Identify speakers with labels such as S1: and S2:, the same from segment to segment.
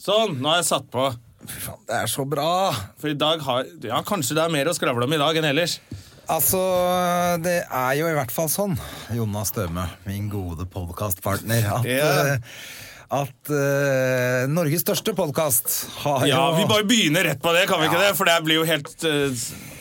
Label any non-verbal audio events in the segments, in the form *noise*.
S1: Sånn, nå har jeg satt på.
S2: Fy faen, det er så bra.
S1: For i dag har Ja, kanskje det er mer å skravle om i dag enn ellers.
S2: Altså, det er jo i hvert fall sånn, Jonas Døme, min gode podkastpartner, at,
S1: Ja.
S2: eh, at eh, Norges største podkast har
S1: Ja,
S2: jo
S1: vi bare begynner rett på det, kan vi ikke det? For det blir jo helt eh,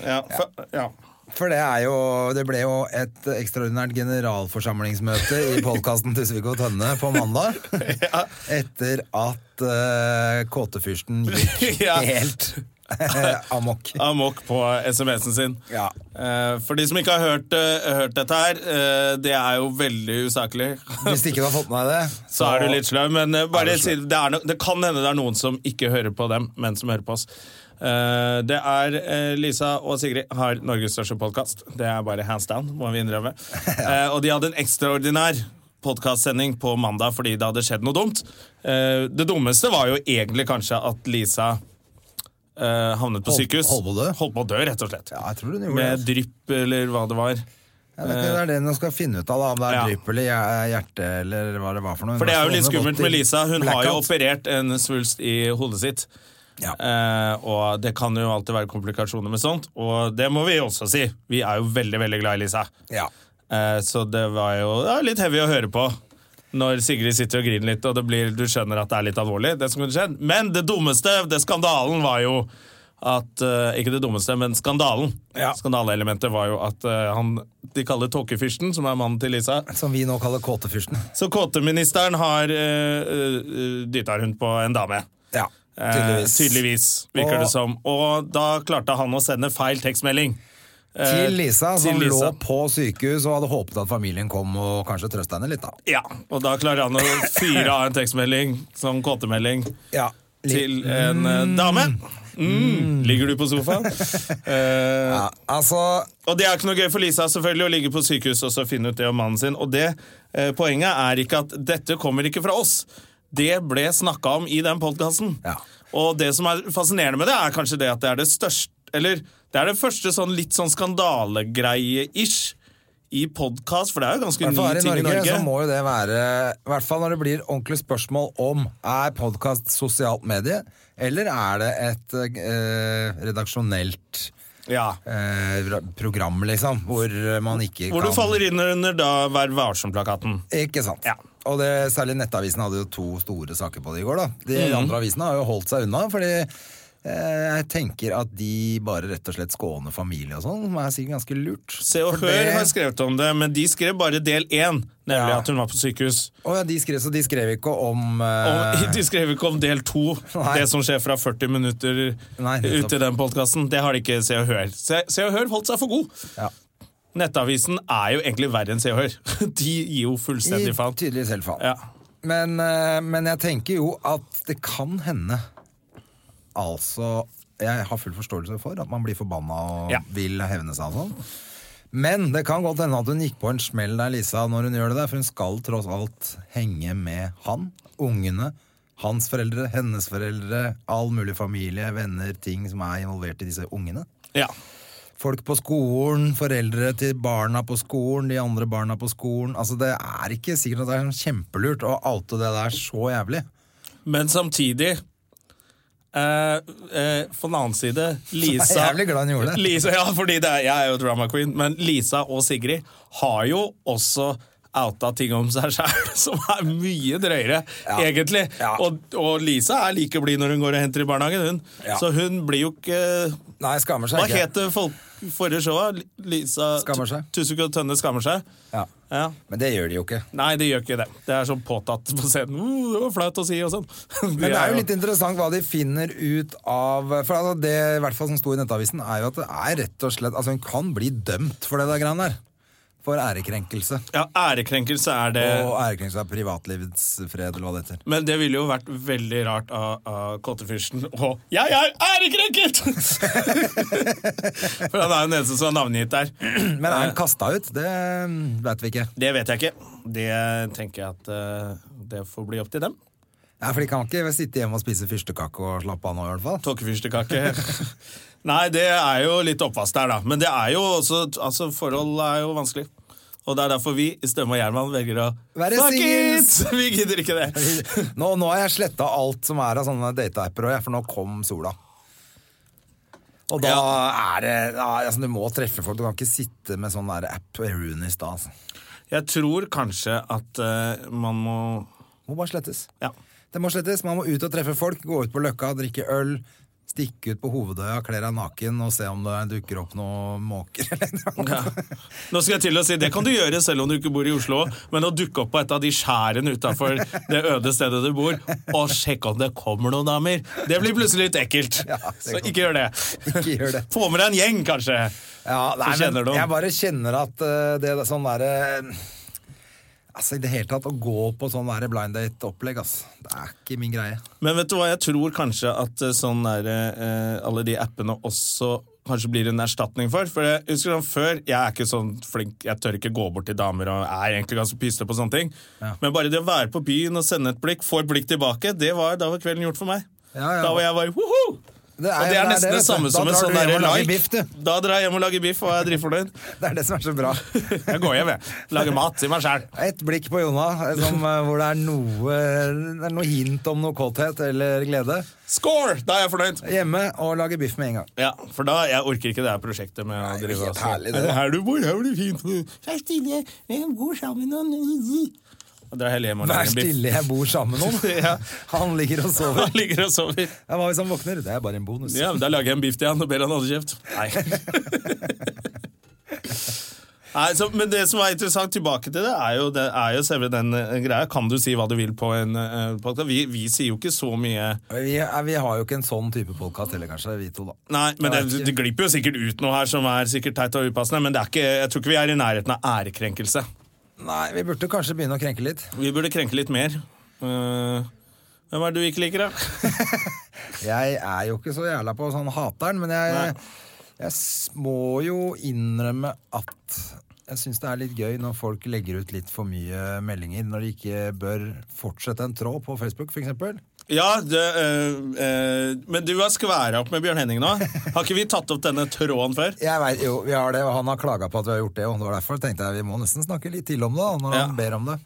S1: Ja. For, ja.
S2: For det er jo Det ble jo et ekstraordinært generalforsamlingsmøte i podkasten Tusvik og Tønne på mandag.
S1: *laughs* Ja.
S2: Etter at eh, kåtefyrsten gikk
S1: *laughs* Ja.
S2: helt eh, amok.
S1: Amok på SMS-en sin.
S2: Ja.
S1: Eh, for de som ikke har hørt, eh, hørt dette her, eh, det er jo veldig usaklig. *laughs*
S2: Hvis ikke du har fått med deg det,
S1: Så er du litt sløv, men eh, bare
S2: Er du
S1: si, det, er no, det kan hende det er noen som ikke hører på dem, men som hører på oss. Eh, det er eh, Lisa og Sigrid har Norges største podkast. Det er bare hands down, må vi
S2: *laughs*
S1: innrømme. Eh, og de hadde en ekstraordinær podkastsending på mandag fordi det hadde skjedd noe dumt. Eh, det dummeste var jo egentlig kanskje at Lisa eh, havnet på
S2: Hold-
S1: sykehus.
S2: holdt på å dø.
S1: Holdt på å dø, rett og slett.
S2: Ja, jeg tror hun gjorde
S1: Med
S2: det.
S1: drypp eller hva det var.
S2: Ja, det det er det hun skal finne ut av, da, om det er
S1: Ja.
S2: drypp eller hjer- hjerte eller hva det var for noe.
S1: For det er jo
S2: Hun
S1: litt
S2: har
S1: skummelt
S2: gått i
S1: med Lisa. Hun har jo
S2: blackout.
S1: operert en svulst i hodet sitt.
S2: Ja.
S1: Eh, og det kan jo alltid være komplikasjoner med sånt, og det må vi også si. Vi er jo veldig, veldig glad i Lisa.
S2: Ja.
S1: Eh, så det var jo ja, litt heavy å høre på når Sigrid sitter og griner litt, og det blir, du skjønner at det er litt alvorlig. Det som kunne skjedd. Men det dummeste, det skandalen, var jo at eh, Ikke det dummeste, men skandalen.
S2: Ja.
S1: Skandaleelementet var jo at eh, han de kaller tåkefyrsten, som er mannen til Lisa,
S2: Som vi nå kaller kåtefyrsten.
S1: så kåteministeren har uh, dytta rundt på en dame.
S2: Ja,
S1: Eh,
S2: tydeligvis.
S1: tydeligvis, virker
S2: Og-
S1: det som. Og da klarte han å sende feil tekstmelding. Eh,
S2: Til Lisa, som
S1: til Lisa.
S2: lå på sykehus og hadde håpet at familien kom og kanskje trøsta henne litt, da.
S1: Ja, og da klarer han å fyre av en tekstmelding som kåtemelding
S2: Ja, li-
S1: til en eh, dame. Mm. Ligger du på
S2: *laughs*
S1: sofaen? Eh,
S2: Ja, altså
S1: Og det er ikke noe gøy for Lisa selvfølgelig å ligge på sykehus og så finne ut det om mannen sin. Og det eh, Poenget er ikke at dette kommer ikke fra oss. Det ble snakka om i den podkasten.
S2: Ja.
S1: Og det som er fascinerende med det, er kanskje det at det er det største Eller det er det første sånn litt sånn skandalegreie-ish i podkast, for det er jo
S2: i
S1: ganske
S2: hvert
S1: ny
S2: fall her i
S1: ting
S2: Norge,
S1: i Norge.
S2: så må jo det være I hvert fall når det blir ordentlige spørsmål om er podkast sosialt medie, eller er det et eh, redaksjonelt
S1: Ja.
S2: eh, program, liksom, hvor man ikke
S1: Hvor
S2: kan
S1: du faller inn under da Vær varsom-plakaten.
S2: Ikke sant.
S1: Ja.
S2: Og det, særlig Nettavisen hadde jo to store saker på det i går. da. De
S1: Mhm.
S2: andre avisene har jo holdt seg unna, fordi eh, jeg tenker at de bare rett og slett skåner familie og sånn, som er sikkert ganske lurt.
S1: Se og
S2: For
S1: Hør
S2: det-
S1: har skrevet om det, men de skrev bare del én, nemlig
S2: Ja.
S1: at hun var på sykehus.
S2: Å ja, de skrev, så de skrev ikke om eh,
S1: Og *laughs* de skrev ikke om del to,
S2: Nei.
S1: det som skjer fra 40 minutter
S2: Nei, nettopp.
S1: ute i den podkasten. Det har de ikke Se og Hør. Se, se og Hør holdt seg for god.
S2: Ja.
S1: Nettavisen er jo egentlig verre enn Se og Hør. *laughs* De gir jo fullstendig faen.
S2: Tydeligvis helt faen.
S1: Ja.
S2: Men, eh, men jeg tenker jo at det kan hende Altså Jeg har full forståelse for at man blir forbanna og
S1: Ja.
S2: vil hevne seg og sånn. Men det kan godt hende at hun gikk på en smell der, Lisa, når hun gjør det der. For hun skal tross alt henge med han, ungene, hans foreldre, hennes foreldre, all mulig familie, venner, ting som er involvert i disse ungene.
S1: Ja.
S2: Folk på skolen, foreldre til barna på skolen, de andre barna på skolen. Altså, det er ikke sikkert at det er sånn kjempelurt å oute det der så jævlig.
S1: Men samtidig eh, eh, På den annen
S2: *laughs*
S1: side,
S2: Jeg
S1: Lisa
S2: er jævlig glad hun gjorde det.
S1: Lisa, ja, fordi det er, jeg er jo drama queen, men Lisa og Sigrid har jo også outa ting om seg sjøl *laughs* som er mye drøyere, egentlig.
S2: Ja.
S1: Og, og Lisa er like blid når hun går og henter i barnehagen, hun.
S2: Ja.
S1: Så hun blir jo ikke
S2: Nei, skammer seg
S1: Hva
S2: ikke.
S1: het det folk- forrige showet? Lisa
S2: Skammer seg.
S1: Tusvik og Tønne skammer seg?
S2: Ja.
S1: Ja.
S2: Men det gjør de jo ikke.
S1: Nei, det gjør ikke det. Det er sånn påtatt på scenen. Uh, det var flaut å si og sånn. *laughs*
S2: Men det er jo litt interessant hva de finner ut av For altså det i hvert fall som sto i Nettavisen, er jo at det er rett og slett Altså, hun kan bli dømt for det der greiene der. for ærekrenkelse.
S1: Ja, ærekrenkelse er det.
S2: Og ærekrenkelse av privatlivets fred, eller hva det heter.
S1: Men det ville jo vært veldig rart av, av Kottefyrsten å Jeg er ærekrenket! *laughs* For han er jo den eneste som er navngitt der.
S2: *clears throat*
S1: Eh,
S2: Men er han kasta ut? Det mm, vet vi ikke.
S1: Det vet jeg ikke. Det tenker jeg at eh, det får bli opp til dem.
S2: Nei, for de kan ikke sitte hjemme og spise fyrstekake og slappe av nå, i hvert fall.
S1: Tåkefyrstekake.
S2: *laughs*
S1: Nei, det er jo litt oppvask der, da. Men det er jo også Altså, forhold er jo vanskelig. Og det er derfor vi i Stømme og Gjerman velger å
S2: Være
S1: Fuck
S2: singles!
S1: it! *laughs* Vi gidder ikke
S2: *laughs*
S1: det.
S2: Nå, nå har jeg sletta alt som er av sånne dateapper, og jeg, for nå kom sola. Og da er det ja, altså, Du må treffe folk. Du kan ikke sitte med sånn der app Rooney i stad. Altså.
S1: Jeg tror kanskje at eh, man må
S2: Må bare slettes.
S1: Ja.
S2: Det må slettes. Man må ut og treffe folk. Gå ut på Løkka, drikke øl. Stikke ut på Hovedøya, kle deg naken og se om det dukker opp noen måker. *laughs* eller noe.
S1: *laughs* Ja. Nå skal jeg til å si, Det kan du gjøre selv om du ikke bor i Oslo, men å dukke opp på et av de skjærene utafor det øde stedet du bor, og sjekke om det kommer noen damer, det blir plutselig litt ekkelt.
S2: Ja, det
S1: Så
S2: kan-
S1: ikke gjør det.
S2: Ikke gjør det.
S1: Få med deg en gjeng, kanskje.
S2: Ja, nei,
S1: Så kjenner
S2: men
S1: du
S2: jeg bare kjenner at eh, det er sånn derre Altså, i det hele tatt, å gå på sånn der blind date-opplegg, altså. Det er ikke min greie.
S1: Men vet du hva, jeg tror kanskje at eh, sånn der, eh, alle de appene også kanskje blir en erstatning for. For jeg husker sånn før, jeg er ikke sånn flink, jeg tør ikke gå bort til damer og er egentlig ganske pyste på sånne ting. Men bare det å være på byen og sende et blikk, få et blikk tilbake, det var, da var kvelden gjort for meg.
S2: Ja, ja.
S1: Da var jeg bare woho!
S2: Det er
S1: og det
S2: jo-
S1: er
S2: det er
S1: nesten
S2: det,
S1: det,
S2: vet du.
S1: samme
S2: Da
S1: som en
S2: drar
S1: sånn
S2: du hjem
S1: der
S2: og lager
S1: like.
S2: biff, du.
S1: da drar jeg hjem og lager biff og er
S2: *laughs*
S1: dritfornøyd.
S2: Det er det som er så bra.
S1: Jeg går hjem, jeg. Lager mat til meg sjæl.
S2: Et blikk på Jonna eh, som, eh, hvor det er noe, det er noe hint om noe kåthet eller glede.
S1: Score! Da er jeg fornøyd.
S2: Hjemme og lage biff med en gang.
S1: Ja, for da, jeg orker ikke det her prosjektet med å drive
S2: helt
S1: og-
S2: herlig, det
S1: Er
S2: da.
S1: Her du bor, her blir fint. Vær stille, vi bor sammen og Dra hele hjem
S2: Vær
S1: og lage en *laughs* biff.
S2: stille, jeg bor sammen med noen.
S1: *laughs* Ja.
S2: Han ligger og sover.
S1: *laughs* Han ligger og sover.
S2: Ja, hva hvis han våkner? Det er bare en bonus.
S1: Ja, men Da lager jeg en biff til han og ber han holde kjeft. Nei. *laughs* Nei, så, men det som er interessant tilbake til det, er jo, det er jo selve den eh, greia. Kan du si hva du vil på en eh, podcast? Vi, vi sier jo ikke så mye
S2: Vi, er- vi har jo ikke en sånn type podkast heller, kanskje, vi to, da.
S1: Nei, men
S2: Jeg vet
S1: det,
S2: ikke.
S1: det glipper jo sikkert ut noe her som er sikkert teit og upassende, men det er ikke, jeg tror ikke vi er i nærheten av ærekrenkelse.
S2: Nei, vi burde kanskje begynne å krenke litt.
S1: Vi burde krenke litt mer. Eh, hvem er det du ikke liker, da?
S2: Jeg er jo ikke så jævla på sånn hateren, men jeg, jeg s- må jo innrømme at jeg syns det er litt gøy når folk legger ut litt for mye meldinger når de ikke bør fortsette en tråd på Facebook, f.eks.
S1: Ja, det, eh, eh, men du har skværa opp med Bjørn Henning nå. Har ikke vi tatt opp denne tråden før?
S2: Jeg vet, jo, vi har det, og han har klaga på at vi har gjort det, og det var derfor tenkte jeg vi må nesten snakke litt til om det, da, når
S1: Ja.
S2: han ber om det.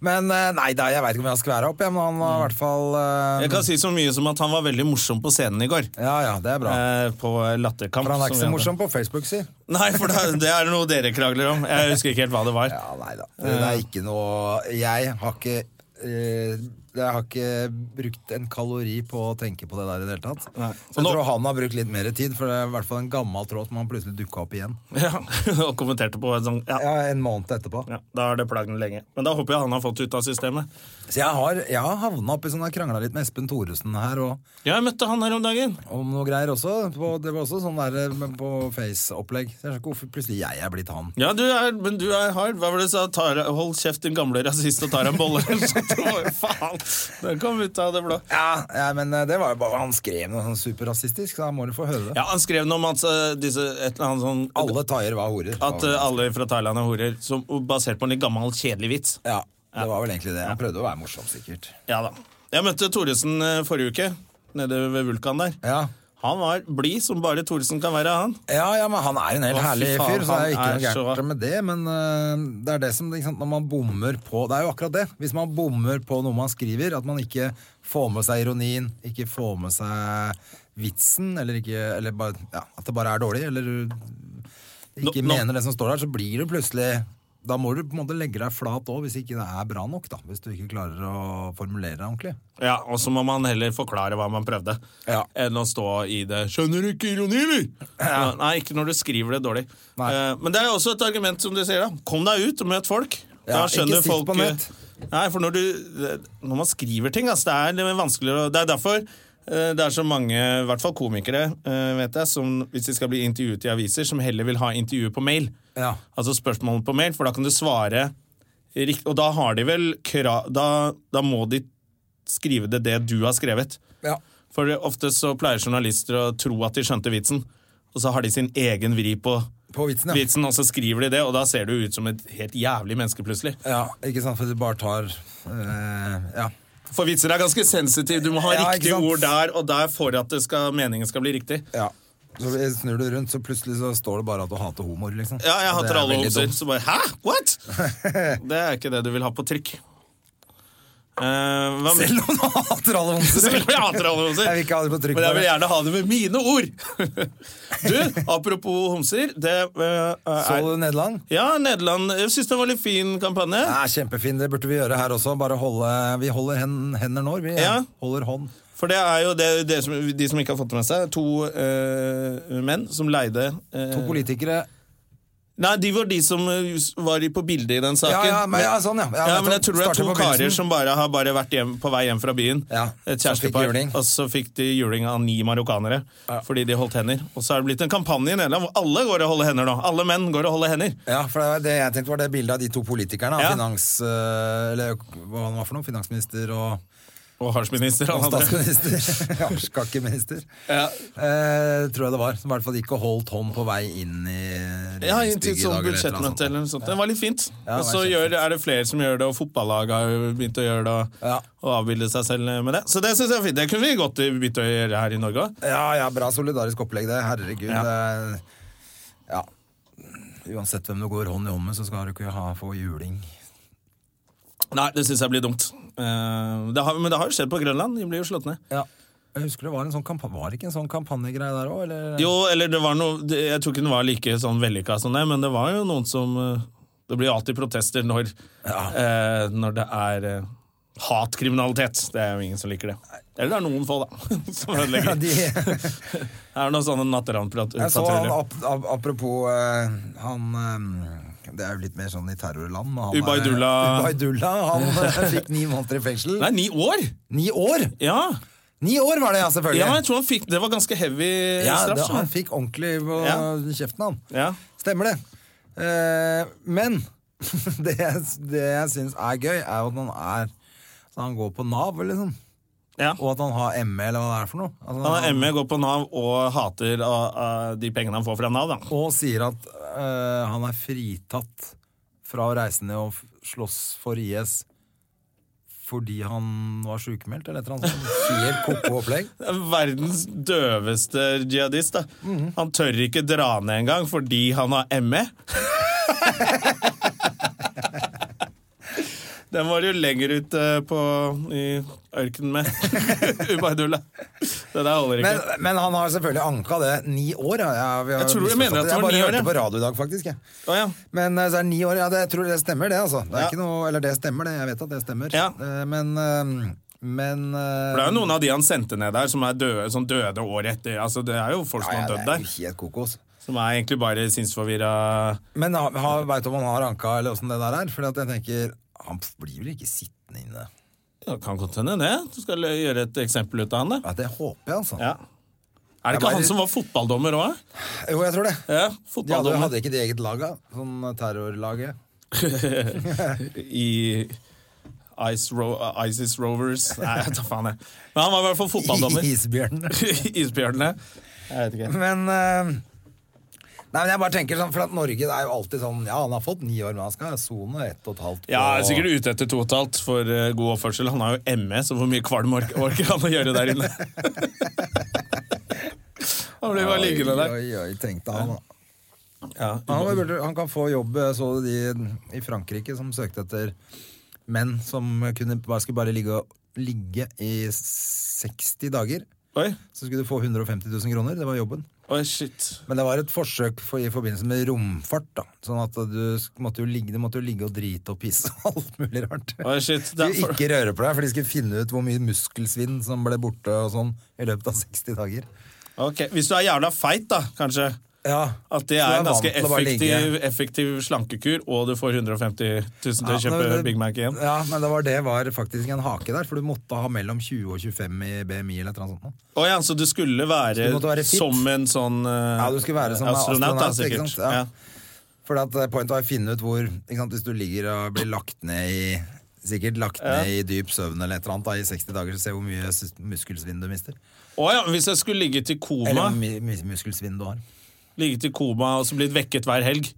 S2: Men eh, nei da, jeg veit ikke om jeg har skværa opp, jeg, men han har i hvert fall eh,
S1: Mm. Jeg kan si så mye som at han var veldig morsom på scenen i går.
S2: Ja ja, det er bra.
S1: Eh, på Latterkamp.
S2: For han er ikke
S1: som vi
S2: så
S1: hadde.
S2: morsom på Facebook, si.
S1: Nei, for det, det er noe dere krangler om. Jeg husker ikke helt hva det var.
S2: Ja, nei da. Det
S1: Eh.
S2: er ikke noe Jeg har ikke eh, jeg har ikke brukt en kalori på å tenke på det der i det hele tatt.
S1: Nei.
S2: Så jeg
S1: Og nå-
S2: tror han har brukt litt mer tid, for det er i hvert fall en gammel tråd som han plutselig dukka opp igjen.
S1: *laughs* Ja, og kommenterte på en sånn ja,
S2: Ja, En måned etterpå.
S1: ja, Da har det plagd ham lenge. Men da håper jeg han har fått det ut av systemet.
S2: Så jeg har, jeg har havna oppi sånn, jeg krangla litt med Espen Thoresen her og
S1: Ja, jeg møtte han her om dagen.
S2: om noe greier også. På, det var også sånn der eh, men på Face-opplegg. Så Jeg skjønner ikke hvorfor plutselig jeg er blitt han.
S1: Ja, du er, men du er hard. Hva var det du sa? Tar, hold kjeft, din gamle rasist, og tar en bolle. Så det var jo faen. Den kom ut av det blå.
S2: Ja, ja men eh, det var jo bare Han skrev noe sånn superrasistisk, så da må du få høre det.
S1: Ja, Han skrev noe om at eh, disse, et eller annet sånn
S2: Alle thaier var horer.
S1: At eh, alle fra Thailand er horer, som, basert på en litt gammel, kjedelig vits.
S2: Ja, det var vel egentlig det. Han prøvde å være morsom, sikkert.
S1: Ja da. Jeg møtte Thoresen eh, forrige uke, nede ved Vulkan der.
S2: Ja,
S1: Han var blid som bare Thoresen kan være, han.
S2: ja, ja men han er en helt
S1: Å, fy
S2: herlig
S1: faen,
S2: fyr, så det er ikke
S1: han
S2: noe
S1: er så-
S2: gærent med det. Men øh, det er det som ikke sant, Når man bommer på Det er jo akkurat det. Hvis man bommer på noe man skriver, at man ikke får med seg ironien, ikke får med seg vitsen, eller ikke Eller bare, ja, at det bare er dårlig, eller øh, ikke
S1: Nå- nå-
S2: mener det som står der, så blir du plutselig da må du på en måte legge deg flat òg, hvis ikke det er bra nok. da, Hvis du ikke klarer å formulere deg ordentlig.
S1: Ja, Og så må man heller forklare hva man prøvde,
S2: Ja.
S1: enn å stå i det 'Skjønner du ikke ironi, eller?' Nei, ikke når du skriver det dårlig.
S2: Nei.
S1: Eh, men det er jo også et argument, som du sier. da Kom deg ut og møt folk.
S2: Ja,
S1: da
S2: ikke
S1: skjønner
S2: sitt
S1: folk eh,
S2: på nett.
S1: Nei, for når, du, når man skriver ting, altså, det er litt vanskeligere å- Det er derfor eh, det er så mange, i hvert fall komikere, eh, vet jeg, som hvis de skal bli intervjuet i aviser, som heller vil ha intervjuet på mail.
S2: Ja.
S1: Altså spørsmål på mail, for da kan du svare riktig. Og da har de vel kra... Da, da må de skrive det det du har skrevet.
S2: Ja.
S1: For det- ofte så pleier journalister å tro at de skjønte vitsen, og så har de sin egen vri på
S2: På vitsen, ja.
S1: vitsen, og så skriver de det, og da ser du ut som et helt jævlig menneske plutselig.
S2: ja. Ikke sant, for du bare tar eh, Ja.
S1: For vitser er ganske sensitive, du må ha
S2: Ja, ikke
S1: riktige
S2: sant?
S1: ord der og der for at det skal, meningen skal bli riktig.
S2: ja. Så snur du rundt, så plutselig så står det bare at du hater homoer, liksom.
S1: Ja, jeg
S2: Og det
S1: hater
S2: er
S1: alle
S2: veldig
S1: homser.
S2: dumt.
S1: Så bare Hæ?
S2: *laughs*
S1: What?! Det er ikke det du vil ha på trykk. Eh, hva med-
S2: Selv om du hater alle homser.
S1: Selv om jeg hater alle homser.
S2: Jeg vil ikke ha det på trykk,
S1: Men jeg vil
S2: bare.
S1: gjerne ha det med mine ord! Du, apropos homser. Det eh,
S2: Så
S1: er
S2: du Nederland?
S1: Ja, Nederland. Jeg syns det var en litt fin kampanje.
S2: Ja, kjempefin, det burde vi gjøre her også. Bare holde, vi holder hen, hender når, vi
S1: Ja.
S2: holder hånd.
S1: For det er jo det, det som, de som ikke har fått det med seg. To eh, menn som leide eh,
S2: To politikere
S1: Nei, de var de som eh, var i- på bildet i
S2: Ja,
S1: den saken.
S2: ja, men, ja sånn, ja. ja,
S1: Ja,
S2: nettopp.
S1: men jeg tror det er
S2: Starte
S1: to
S2: på begynnelsen.
S1: karer som bare har bare vært hjem, på vei hjem fra byen.
S2: Ja,
S1: et
S2: som fikk
S1: kjærestepar.
S2: juling.
S1: Og så fikk de juling av ni marokkanere fordi de holdt hender. Og så er det blitt en kampanje i Nederland hvor alle går og holder hender nå. Alle menn går og holder hender.
S2: Ja, for det, var det jeg tenkte var det bildet av de to politikerne. av
S1: Ja.
S2: Finans... øh, Eller hva han var for noe? Finansminister og,
S1: Og hardsminister.
S2: og
S1: han andre.
S2: statsminister. *laughs*
S1: *laughs*
S2: ja, skakkeminister.
S1: Ja.
S2: Eh, tror jeg det var. Som i hvert fall ikke holdt hånd på vei inn i
S1: Ja, i en
S2: regjeringsbygget i
S1: tid sånn
S2: dag, eller et eller annet
S1: budsjettmøte eller noe sånt. Det var litt fint.
S2: Ja,
S1: og
S2: det
S1: så
S2: var
S1: gjør, er det flere som gjør det, og fotballaget har jo begynt å gjøre det, og,
S2: Ja.
S1: og avbilde seg selv med det. Så det synes jeg er fint. Det kunne vi godt eh, begynt å gjøre her i Norge òg.
S2: Ja, ja, bra solidarisk opplegg, det. Herregud.
S1: Ja.
S2: Det, er- ja. Uansett hvem du går hånd i hånd med, så skal du ikke ha, få juling.
S1: Nei, det synes jeg blir dumt. Eh, det har, men det har jo skjedd på Grønland. De blir jo slått ned.
S2: Ja. Jeg husker det var en sånn kampa- Var det ikke en sånn kampanjegreie der òg, eller?
S1: *laughs* Jo, eller det var noe det- Jeg tror ikke den var like sånn vellykka som det, men det var jo noen som eh, Det blir alltid protester når, eh, når det er eh, hatkriminalitet. Det er jo ingen som liker det. Eller det er noen få, da, *laughs*
S2: *laughs*
S1: som
S2: Ja,
S1: ødelegger.
S2: de...
S1: Det er
S2: Jeg
S1: noen sånne
S2: så han,
S1: natteravnpatruljer.
S2: ap ap apropos eh, han eh, Det er jo litt mer sånn i terrorland. men han er-
S1: Ubaydullah.
S2: *laughs* Ubaydullah, han eh, fikk ni måneder i fengsel.
S1: Nei, ni år!
S2: Ni år!
S1: Ja,
S2: Ni år var det, ja, selvfølgelig!
S1: ja men jeg tror han fikk Det var ganske heavy
S2: Ja,
S1: straff.
S2: det, han
S1: skjønner du.
S2: fikk ordentlig på
S1: Ja.
S2: kjeften, han.
S1: Ja.
S2: Stemmer det. Eh, men *laughs* det, jeg- det jeg syns er gøy, er jo at han er at han går på Nav, liksom.
S1: Ja.
S2: Og at han har ME, eller hva det er for noe. Altså,
S1: Han E. er ME, går på Nav og hater ah, ah, de pengene han får fra Nav. da.
S2: og sier at eh, han er fritatt fra å reise ned og f- slåss for IS fordi han var sykemeldt, eller et eller annet sånt. Helt koko opplegg.
S1: Verdens døveste jihadist. da. Han tør ikke dra ned engang fordi han har E. ME. *laughs* Den var jo lenger ut eh, på, i ørkenen med *laughs* Ubaydullah. Det der holder ikke.
S2: Men, men han har selvfølgelig anka det. Ni år, ja. ja vi har
S1: Jeg tror- jeg
S2: misforstått
S1: mener at det var
S2: bare
S1: ni år,
S2: hørte
S1: ja.
S2: på radio i dag, faktisk. Jeg.
S1: Å, ja.
S2: Men eh, så er det ni år, ja, det, jeg tror det stemmer det, altså. Det er
S1: Ja.
S2: ikke noe, eller det stemmer det, jeg vet at det stemmer.
S1: Ja.
S2: Eh, Men, eh, men eh,
S1: For det er jo noen av de han sendte ned der, som, er døde, som døde året etter. Altså, det er jo folk som
S2: ja, ja,
S1: har dødd
S2: det er
S1: der.
S2: jo helt kokos.
S1: Som er egentlig bare sinnsforvirra
S2: Men ha, ha, veit du om han har anka, eller åssen det der er? For jeg tenker, han blir vel ikke sittende inne?
S1: ja, Kan godt hende det. Du skal gjøre et eksempel ut av han, da.
S2: Ja, det håper jeg, altså.
S1: Ja. Er
S2: Jeg
S1: det ikke
S2: bare-
S1: han som var fotballdommer òg?
S2: Jo, jeg tror det.
S1: Ja,
S2: De hadde,
S1: fotballdommer
S2: hadde ikke de eget lag, da? Sånn terrorlaget.
S1: i Ice Ro uh, ISIS Rovers Nei, jeg tar faen, jeg. Men han var i hvert fall fotballdommer.
S2: Isbjørnene.
S1: *laughs* Isbjørnene. Jeg vet ikke.
S2: Men eh, Nei, men jeg bare tenker sånn, for at Norge det er jo alltid sånn Ja, han har fått ni år, men han skal sone ett og et halvt. på-
S1: Ja, jeg er sikkert ute etter to og et halvt for eh, god oppførsel. Han har jo ME, så hvor mye kvalm orker orker han å gjøre der inne? *laughs* han blir bare liggende der.
S2: Oi, oi, oi, tenkte han. da.
S1: Ja,
S2: Han, burde, han kan få jobb, eh, så du de i Frankrike som søkte etter menn som kunne, bare skulle bare ligge, og- ligge i 60 dager.
S1: Oi,
S2: Så skulle du få 150 000 kroner. Det var jobben.
S1: oi, shit.
S2: Men det var et forsøk for, i forbindelse med romfart, da. Sånn at du sk- måtte jo ligge, du måtte jo ligge og drite og pisse og *laughs* alt mulig rart.
S1: Oi, shit.
S2: Du
S1: Det er for...
S2: ikke røre på deg, for de skulle finne ut hvor mye muskelsvinn som ble borte og sånn i løpet av 60 dager.
S1: Ok, Hvis du er jævla feit, da, kanskje,
S2: Ja.
S1: At det
S2: Så
S1: er
S2: du
S1: en
S2: vant
S1: ganske
S2: til å bare ligge.
S1: effektiv, effektiv slankekur, og du får 150 000 til
S2: Ja,
S1: å kjøpe
S2: men det-
S1: Big Mac igjen.
S2: Ja, men det var, det var faktisk en hake der, for du måtte ha mellom 20 og 25 i BMI eller et eller annet sånt. nå.
S1: Å ja, så du skulle være,
S2: Så du måtte være fit.
S1: som en sånn eh,
S2: Ja, du skulle være som
S1: astronaut, da,
S2: astronaut, ikke
S1: sikkert.
S2: sant? Ja. For at eh, pointet var å finne ut hvor ikke sant, Hvis du ligger og blir lagt ned i Sikkert lagt ned i dyp søvn eller et eller annet da, i 60 dager, så se hvor mye sus- muskelsvinn du mister.
S1: Å ja, hvis jeg skulle ligge til
S2: Eller
S1: koma,
S2: hvor mye mye muskelsvinn du har.
S1: ligge til koma og så blitt vekket hver
S2: *laughs*
S1: helg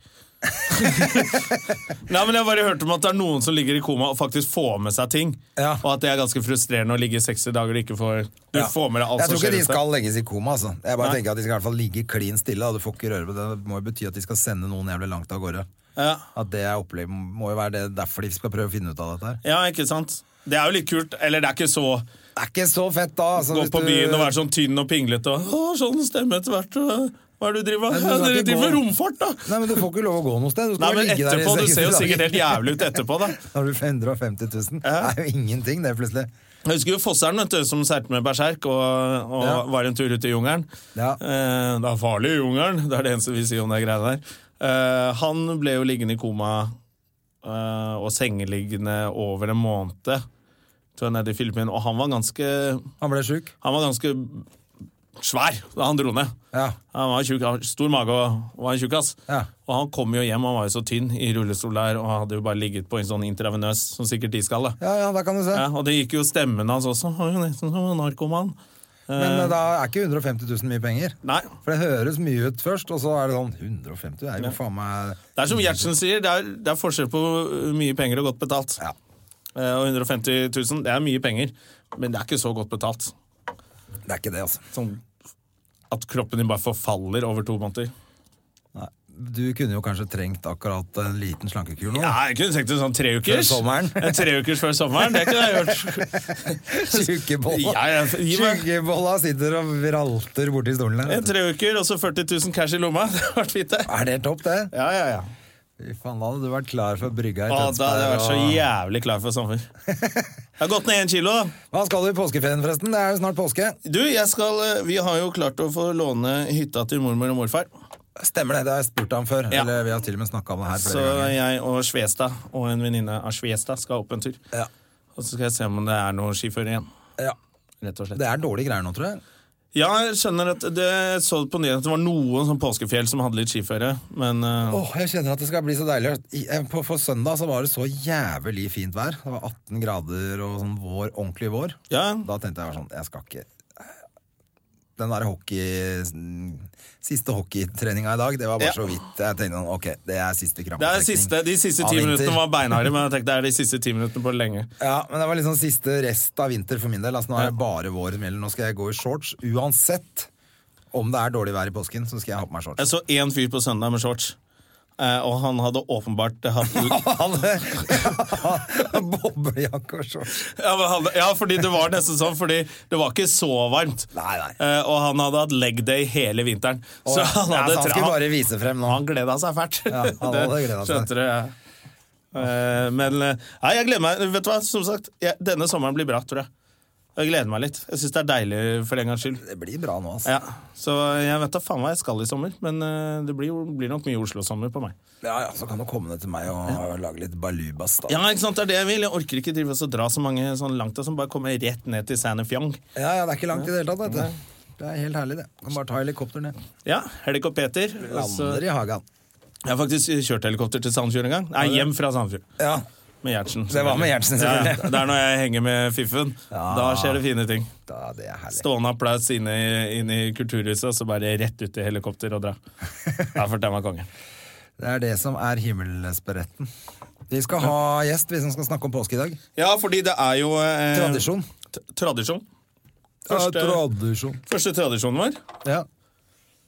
S1: Nei, men Jeg bare hørte om at det er noen som ligger i koma og faktisk får med seg ting.
S2: Ja.
S1: Og at det er ganske frustrerende å ligge i 60 dager og ikke får Du
S2: Ja.
S1: får med deg alt
S2: Jeg
S1: som
S2: tror ikke
S1: skjer.
S2: de
S1: rundt deg.
S2: skal legges i koma, altså. Jeg bare
S1: Nei.
S2: tenker at de skal i hvert fall ligge klin stille, da. Du får ikke røre på det. Det må jo bety at de skal sende noen jævlig langt av gårde.
S1: Ja.
S2: At det er opplev- må jo være det derfor de skal prøve å finne ut av dette her.
S1: ja, ikke sant? Det er jo litt kult. Eller det er ikke så
S2: Det er ikke så fett da altså,
S1: Gå
S2: hvis
S1: på
S2: du-
S1: byen og være sånn tynn og pinglete og «Å, sånn stemme etter hvert. og Hva er det du driver med?
S2: Nei,
S1: Ja,
S2: du skal
S1: dere
S2: ikke
S1: driver med
S2: gå-
S1: romfart, da!
S2: Nei, men du får ikke lov å gå noe sted Du skal
S1: Nei,
S2: bare
S1: men
S2: ligge der i
S1: etterpå, Du
S2: 60
S1: ser jo
S2: dager.
S1: sikkert helt jævlig ut etterpå, da.
S2: Da har du 150 000
S1: Ja.
S2: Det er jo ingenting det plutselig
S1: Jeg husker jo Fosseren vet du, som seilte med berserk og, og
S2: Ja.
S1: var en tur ut i jungelen.
S2: Ja.
S1: Eh, det er farlig i jungelen, det er det eneste vi sier om de greiene der. Eh, han ble jo liggende i koma eh, og sengeliggende over en måned tror jeg, nede i Filippinene, og han var ganske,
S2: Han ble syk
S1: han var ganske svær da han dro ned.
S2: Ja,
S1: Han var tjukk, han hadde stor mage og og var en tjukkas.
S2: Ja.
S1: Og han kom jo hjem, han var jo så tynn i rullestol der, og hadde jo bare ligget på en sånn intravenøs, som sikkert de skal, da.
S2: ja, ja da kan du se
S1: Ja, og det gikk jo stemmen hans også. Han er jo nesten som en narkoman.
S2: Men eh, da er ikke 150 000 mye penger
S1: Nei.
S2: For det høres mye ut først Og så er det sånn 150 000 er jo faen meg
S1: Det er som Gjertsen sier, det er, det er forskjell på uh, mye penger og godt betalt.
S2: Ja.
S1: Eh, Og 150 000, det er mye penger, men det er ikke så godt betalt.
S2: Det er ikke det altså
S1: Sånn at kroppen din bare forfaller over to måneder.
S2: Nei. Du kunne jo kanskje trengt akkurat en liten slankekur nå *laughs*
S1: Ja, jeg kunne tenkt en sånn tre ukers.
S2: Før sommeren.
S1: En tre ukers før sommeren, det kunne jeg
S2: *laughs*
S1: gjort. Ja,
S2: Tjukkebolla
S1: ja, gi meg
S2: Tjukkebolla sitter og vralter borti stolen der
S1: en
S2: vet du.
S1: tre uker og så 40 000 cash i lomma. *laughs* Det hadde vært fint, det.
S2: Er det topp det?
S1: Ja, ja, ja.
S2: Fy faen, da hadde du vært klar for brygga i
S1: Å, da hadde jeg vært så
S2: og-
S1: jævlig klar for sommer. *laughs* Jeg har gått ned én kilo. da.
S2: Hva skal du i påskeferien, forresten? Det er jo snart påske.
S1: Du, jeg skal, eh, vi har jo klart å få låne hytta til mormor og morfar.
S2: Stemmer det, det har jeg spurt ham før.
S1: Ja.
S2: Eller vi har til og med snakka om det her flere
S1: Så
S2: ganger.
S1: jeg og Svestad og en venninne av Svestad skal opp en tur.
S2: Ja.
S1: Og så skal jeg se om det er noe skiføre igjen.
S2: Ja.
S1: Rett og slett.
S2: Det er dårlige greier nå, tror jeg.
S1: Ja, jeg skjønner at det jeg så på nyhetene at det var noen sånn påskefjell som hadde litt skiføre, men eh,
S2: Åh, jeg kjenner at det skal bli så deilig. I- eh, På, på søndag så var det så jævlig fint vær. Det var 18 grader og sånn vår, ordentlig vår.
S1: ja.
S2: Da tenkte jeg bare sånn, jeg skal ikke Den der hockey Siste hockeytreninga i dag, det var bare
S1: Ja.
S2: så vidt. Jeg tenkte sånn, ok, det er siste
S1: Det er
S2: krampetrekning.
S1: de siste, de siste ti
S2: av vinter.
S1: minuttene var *laughs* beinharde, men jeg tenkte det er de siste ti minuttene på lenge.
S2: Ja, men det var liksom siste rest av vinter for min del. Altså, nå er det bare vår som gjelder. Nå skal jeg gå i shorts. Uansett om det er dårlig vær i påsken, så skal jeg ha på meg
S1: *laughs*
S2: shorts.
S1: Jeg så én fyr på søndag med shorts, eh, og han hadde åpenbart
S2: *laughs*
S1: hatt
S2: Han Boblejakke og shorts.
S1: Ja, men han, ja, fordi det var nesten sånn, fordi det var ikke så varmt.
S2: Nei, nei.
S1: Eh, og han hadde hatt leg day hele vinteren.
S2: Og,
S1: Så
S2: ja,
S1: han hadde
S2: så Altså, han
S1: tra-
S2: skulle bare vise frem nå.
S1: Han gleda seg fælt.
S2: Ja, han hadde
S1: *laughs* Det
S2: gledet seg.
S1: Skjønte du? Ja. Eh, men eh, nei, jeg gleder meg. Vet du hva, som sagt, jeg, denne sommeren blir bra, tror jeg. Jeg gleder meg litt. Jeg syns det er deilig for en gangs skyld.
S2: Det blir bra nå, altså.
S1: Ja, så jeg vet da faen hva jeg skal i sommer, men eh, det blir, jo- blir nok mye Oslo-sommer på meg.
S2: Ja, ja, Så kan du komme ned til meg og lage litt balubas, da.
S1: Ja, ikke sant, det er det jeg vil. Jeg orker ikke drive og så dra så mange sånn langt og sånn, bare komme rett ned til Sandefjong.
S2: Ja, ja, det er ikke langt i det hele tatt, vet du. Det er helt herlig, det. Kan bare ta helikopter ned.
S1: Ja, helikopter. og så-
S2: Lander i hagen.
S1: Jeg har faktisk kjørt helikopter til Sandfjord en gang. Nei, hjem fra Sandfjord.
S2: Ja.
S1: Med Gjertsen.
S2: Det var med Gjertsen, selvfølgelig.
S1: Ja, det er når jeg henger med Fiffen.
S2: Ja.
S1: Da skjer det fine ting.
S2: Da, det er herlig.
S1: Stående applaus inne i, inne i kulturhuset, og så bare rett ut i helikopter og dra. Da følte jeg meg konge.
S2: Det er det som er himmelsberetten. Vi skal ha gjest, vi som skal snakke om påske i dag.
S1: Ja, fordi det er jo eh,
S2: Tradisjon.
S1: t- Tradisjon. Første,
S2: tradisjon.
S1: første tradisjonen vår.
S2: Ja.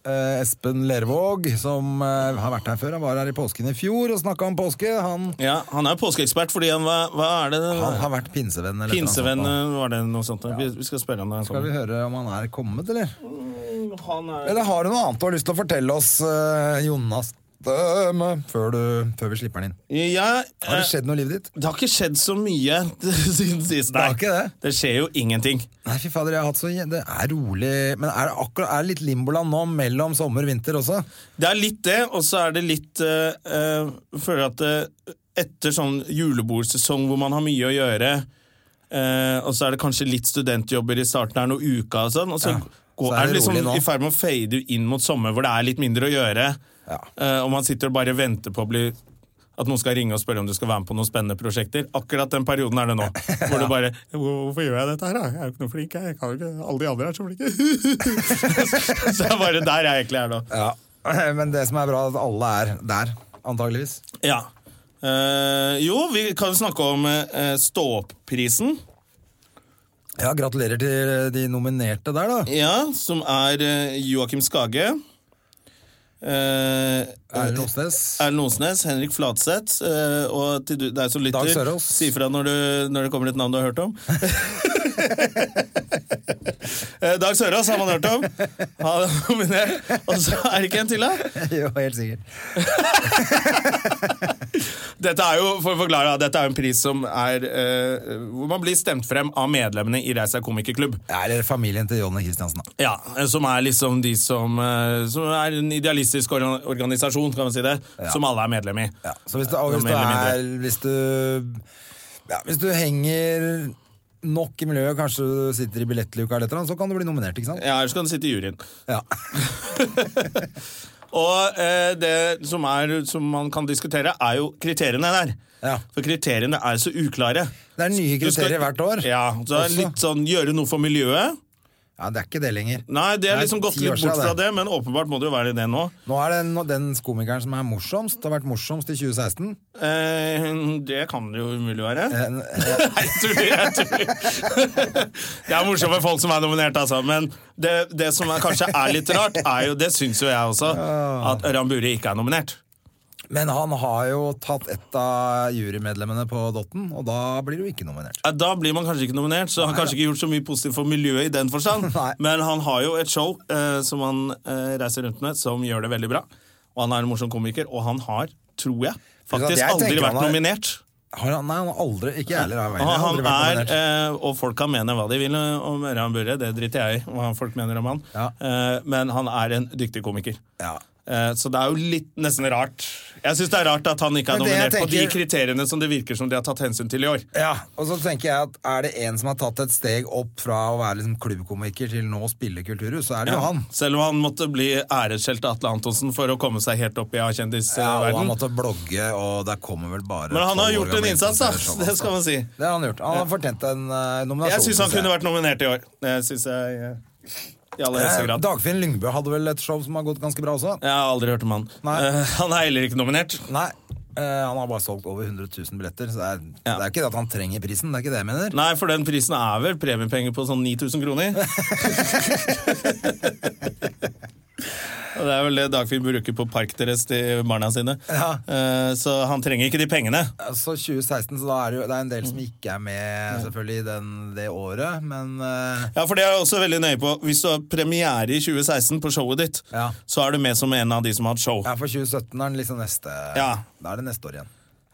S2: Eh, Espen Lervåg, som eh, har vært her før, han var her i påsken i fjor og snakka om påske. Han,
S1: Ja, han er jo påskeekspert, fordi han hva, hva er det
S2: han har vært pinsevenn. Eller et eller annet sånt,
S1: Pinsevenn,
S2: da.
S1: eh, var det noe sånt? Vi, vi skal spørre han når han
S2: Skal vi
S1: kommer.
S2: høre om han er kommet, eller?
S1: Han er
S2: Eller har du noe annet du har lyst til å fortelle oss, eh, Jonas stemme før, du, før vi slipper den inn.
S1: Ja,
S2: Har det
S1: eh,
S2: skjedd noe i livet ditt?
S1: det har ikke skjedd så mye *laughs* siden sist.
S2: har
S1: nei.
S2: ikke det.
S1: skjer jo ingenting.
S2: Nei, fy fader, jeg har hatt så Det er rolig Men er det akkurat er det litt limboland nå mellom sommer og vinter også?
S1: Det er litt det, og så er det litt eh, eh, Føler at eh, etter sånn julebordsesong hvor man har mye å gjøre, eh, og så er det kanskje litt studentjobber i starten her noen uka og sånn, og så,
S2: Ja.
S1: går,
S2: Så
S1: er, det liksom
S2: rolig nå.
S1: i ferd med å fade inn mot sommer hvor det er litt mindre å gjøre,
S2: Ja.
S1: eh, og man sitter og bare venter på å bli at noen skal ringe og spørre om du skal være med på noen spennende prosjekter. Akkurat den
S2: *laughs*
S1: perioden er det nå. Hvor du bare Hvorfor gjør jeg dette her, da? Jeg er jo ikke noe flink, jeg. jeg kan jo ikke. Alle de andre er så flinke. *laughs* så det er bare der jeg egentlig er nå.
S2: Ja. *clears throat* Men det som er bra, er at alle er der, antageligvis.
S1: Ja. Eh, jo, vi kan snakke om uh, Stå-opp-prisen.
S2: Ja, gratulerer til eh, de nominerte der, da.
S1: Ja, som er eh, Joakim Skage. Uh,
S2: Erlend Osnes.
S1: Erlend Osnes, Henrik Flatseth eh, og til du, deg som
S2: Dag
S1: lytter,
S2: Sørås.
S1: si fra når, du, når det kommer et navn du har
S2: *laughs*
S1: hørt om. Eh, Dag Sørås har man hørt om. Han er *laughs* nominert. Og så er det ikke en til, da?
S2: *laughs* Jo, helt sikkert.
S1: Dette er jo, for å forklare, da, dette er jo en pris som er eh, Hvor man blir stemt frem av medlemmene i Reisa komikerklubb.
S2: Ja, Eller familien til Jonny Christiansen, da.
S1: Ja, som er liksom de som eh, Som er en idealistisk orga- organisasjon, kan man si det. Som alle er medlem i.
S2: Ja, så hvis du, og hvis du
S1: Mer eller
S2: er
S1: mindre.
S2: Hvis du ja, Hvis du henger nok i miljøet, kanskje du sitter i billettluka eller et eller annet, så kan du bli nominert, ikke sant?
S1: Ja, Ellers kan du sitte i juryen.
S2: Ja.
S1: Og eh, det som, er, som man kan diskutere, er jo kriteriene der.
S2: Ja.
S1: For kriteriene er så uklare.
S2: Det er nye
S1: Du skal-
S2: kriterier hvert år.
S1: Ja, så det er
S2: Også.
S1: litt sånn gjøre noe for miljøet.
S2: Ja, det er ikke det lenger.
S1: Nei, det er
S2: Nei,
S1: liksom gått
S2: ti år
S1: litt
S2: siden
S1: bort fra
S2: det.
S1: det, men åpenbart må det jo være det nå.
S2: Nå er det no- den komikeren som er morsomst, har vært morsomst i 2016.
S1: Eh, det kan det jo umulig være.
S2: En,
S1: *laughs* Nei, jeg tuller, jeg tuller. *laughs* Det er morsomt med folk som er nominert, altså. Men det, det som er, kanskje er litt rart, er jo, det syns jo jeg også, at Ørjan Bure ikke er nominert.
S2: men han har jo tatt et av jurymedlemmene på dotten, og da blir du ikke nominert.
S1: Ja, Da blir man kanskje ikke nominert, så han har kanskje ikke gjort så mye positivt for miljøet i den forstand.
S2: *laughs* Nei.
S1: Men han har jo et show eh, som han eh, reiser rundt med, som gjør det veldig bra. Og han er en morsom komiker, og han har, tror jeg,
S2: Jeg
S1: faktisk
S2: tenker
S1: aldri
S2: han
S1: vært
S2: har-
S1: nominert.
S2: Har han, nei, han har aldri Ikke jeg heller. har jeg
S1: Og
S2: aldri
S1: han
S2: vært
S1: er,
S2: nominert.
S1: eh, og folk kan mene hva de vil om Ørjan Burre, det driter jeg i hva folk mener om han,
S2: Ja.
S1: eh, men han er en dyktig komiker.
S2: Ja.
S1: Eh, så det er jo litt nesten rart. Jeg syns det er rart at han ikke er
S2: Men det jeg
S1: nominert på de
S2: tenker-
S1: kriteriene som det virker som de har tatt hensyn til i år.
S2: Ja, og så tenker jeg at er det en som har tatt et steg opp fra å være liksom klubbkomiker til nå å spille kulturhus, så er det jo han.
S1: Selv om han måtte bli æreskjelt av Atle Antonsen for å komme seg helt opp i
S2: Ja, og han
S1: A-kjendisverden.
S2: måtte blogge, og der kommer vel bare
S1: Men han
S2: 12
S1: har
S2: år
S1: gjort en
S2: gamle
S1: innsats, da.
S2: influencer, sånn,
S1: Det skal man si.
S2: altså. Det har han gjort. Han har fortjent en eh, nominasjon.
S1: jeg syns han
S2: synes
S1: kunne vært nominert i år. Det syns jeg eh, i aller høyeste
S2: Eh,
S1: grad.
S2: Dagfinn Lyngbø hadde vel et show som har gått ganske bra også?
S1: Jeg har aldri hørt om han.
S2: Nei.
S1: Eh, han er heller ikke nominert.
S2: Nei. eh, han har bare solgt over 100 000 billetter, så det er,
S1: Ja.
S2: det er ikke det at han trenger prisen. Det er ikke det jeg mener.
S1: Nei, for den prisen er vel premiepenger på sånn 9000
S2: *laughs*
S1: kroner. Og det er vel det Dagfinn bruker på parkdress til barna sine.
S2: Ja.
S1: Eh, Så han trenger ikke de pengene.
S2: Så 2016, så da er det jo det er en del som
S1: Mm.
S2: ikke er med selvfølgelig i den, det året, men eh,
S1: Ja, for det er jeg også veldig nøye på. Hvis du har premiere i 2016 på showet ditt,
S2: Ja.
S1: så er du med som en av de som har hatt show.
S2: ja, for 2017 er den liksom neste
S1: Ja.
S2: Da er det neste år igjen.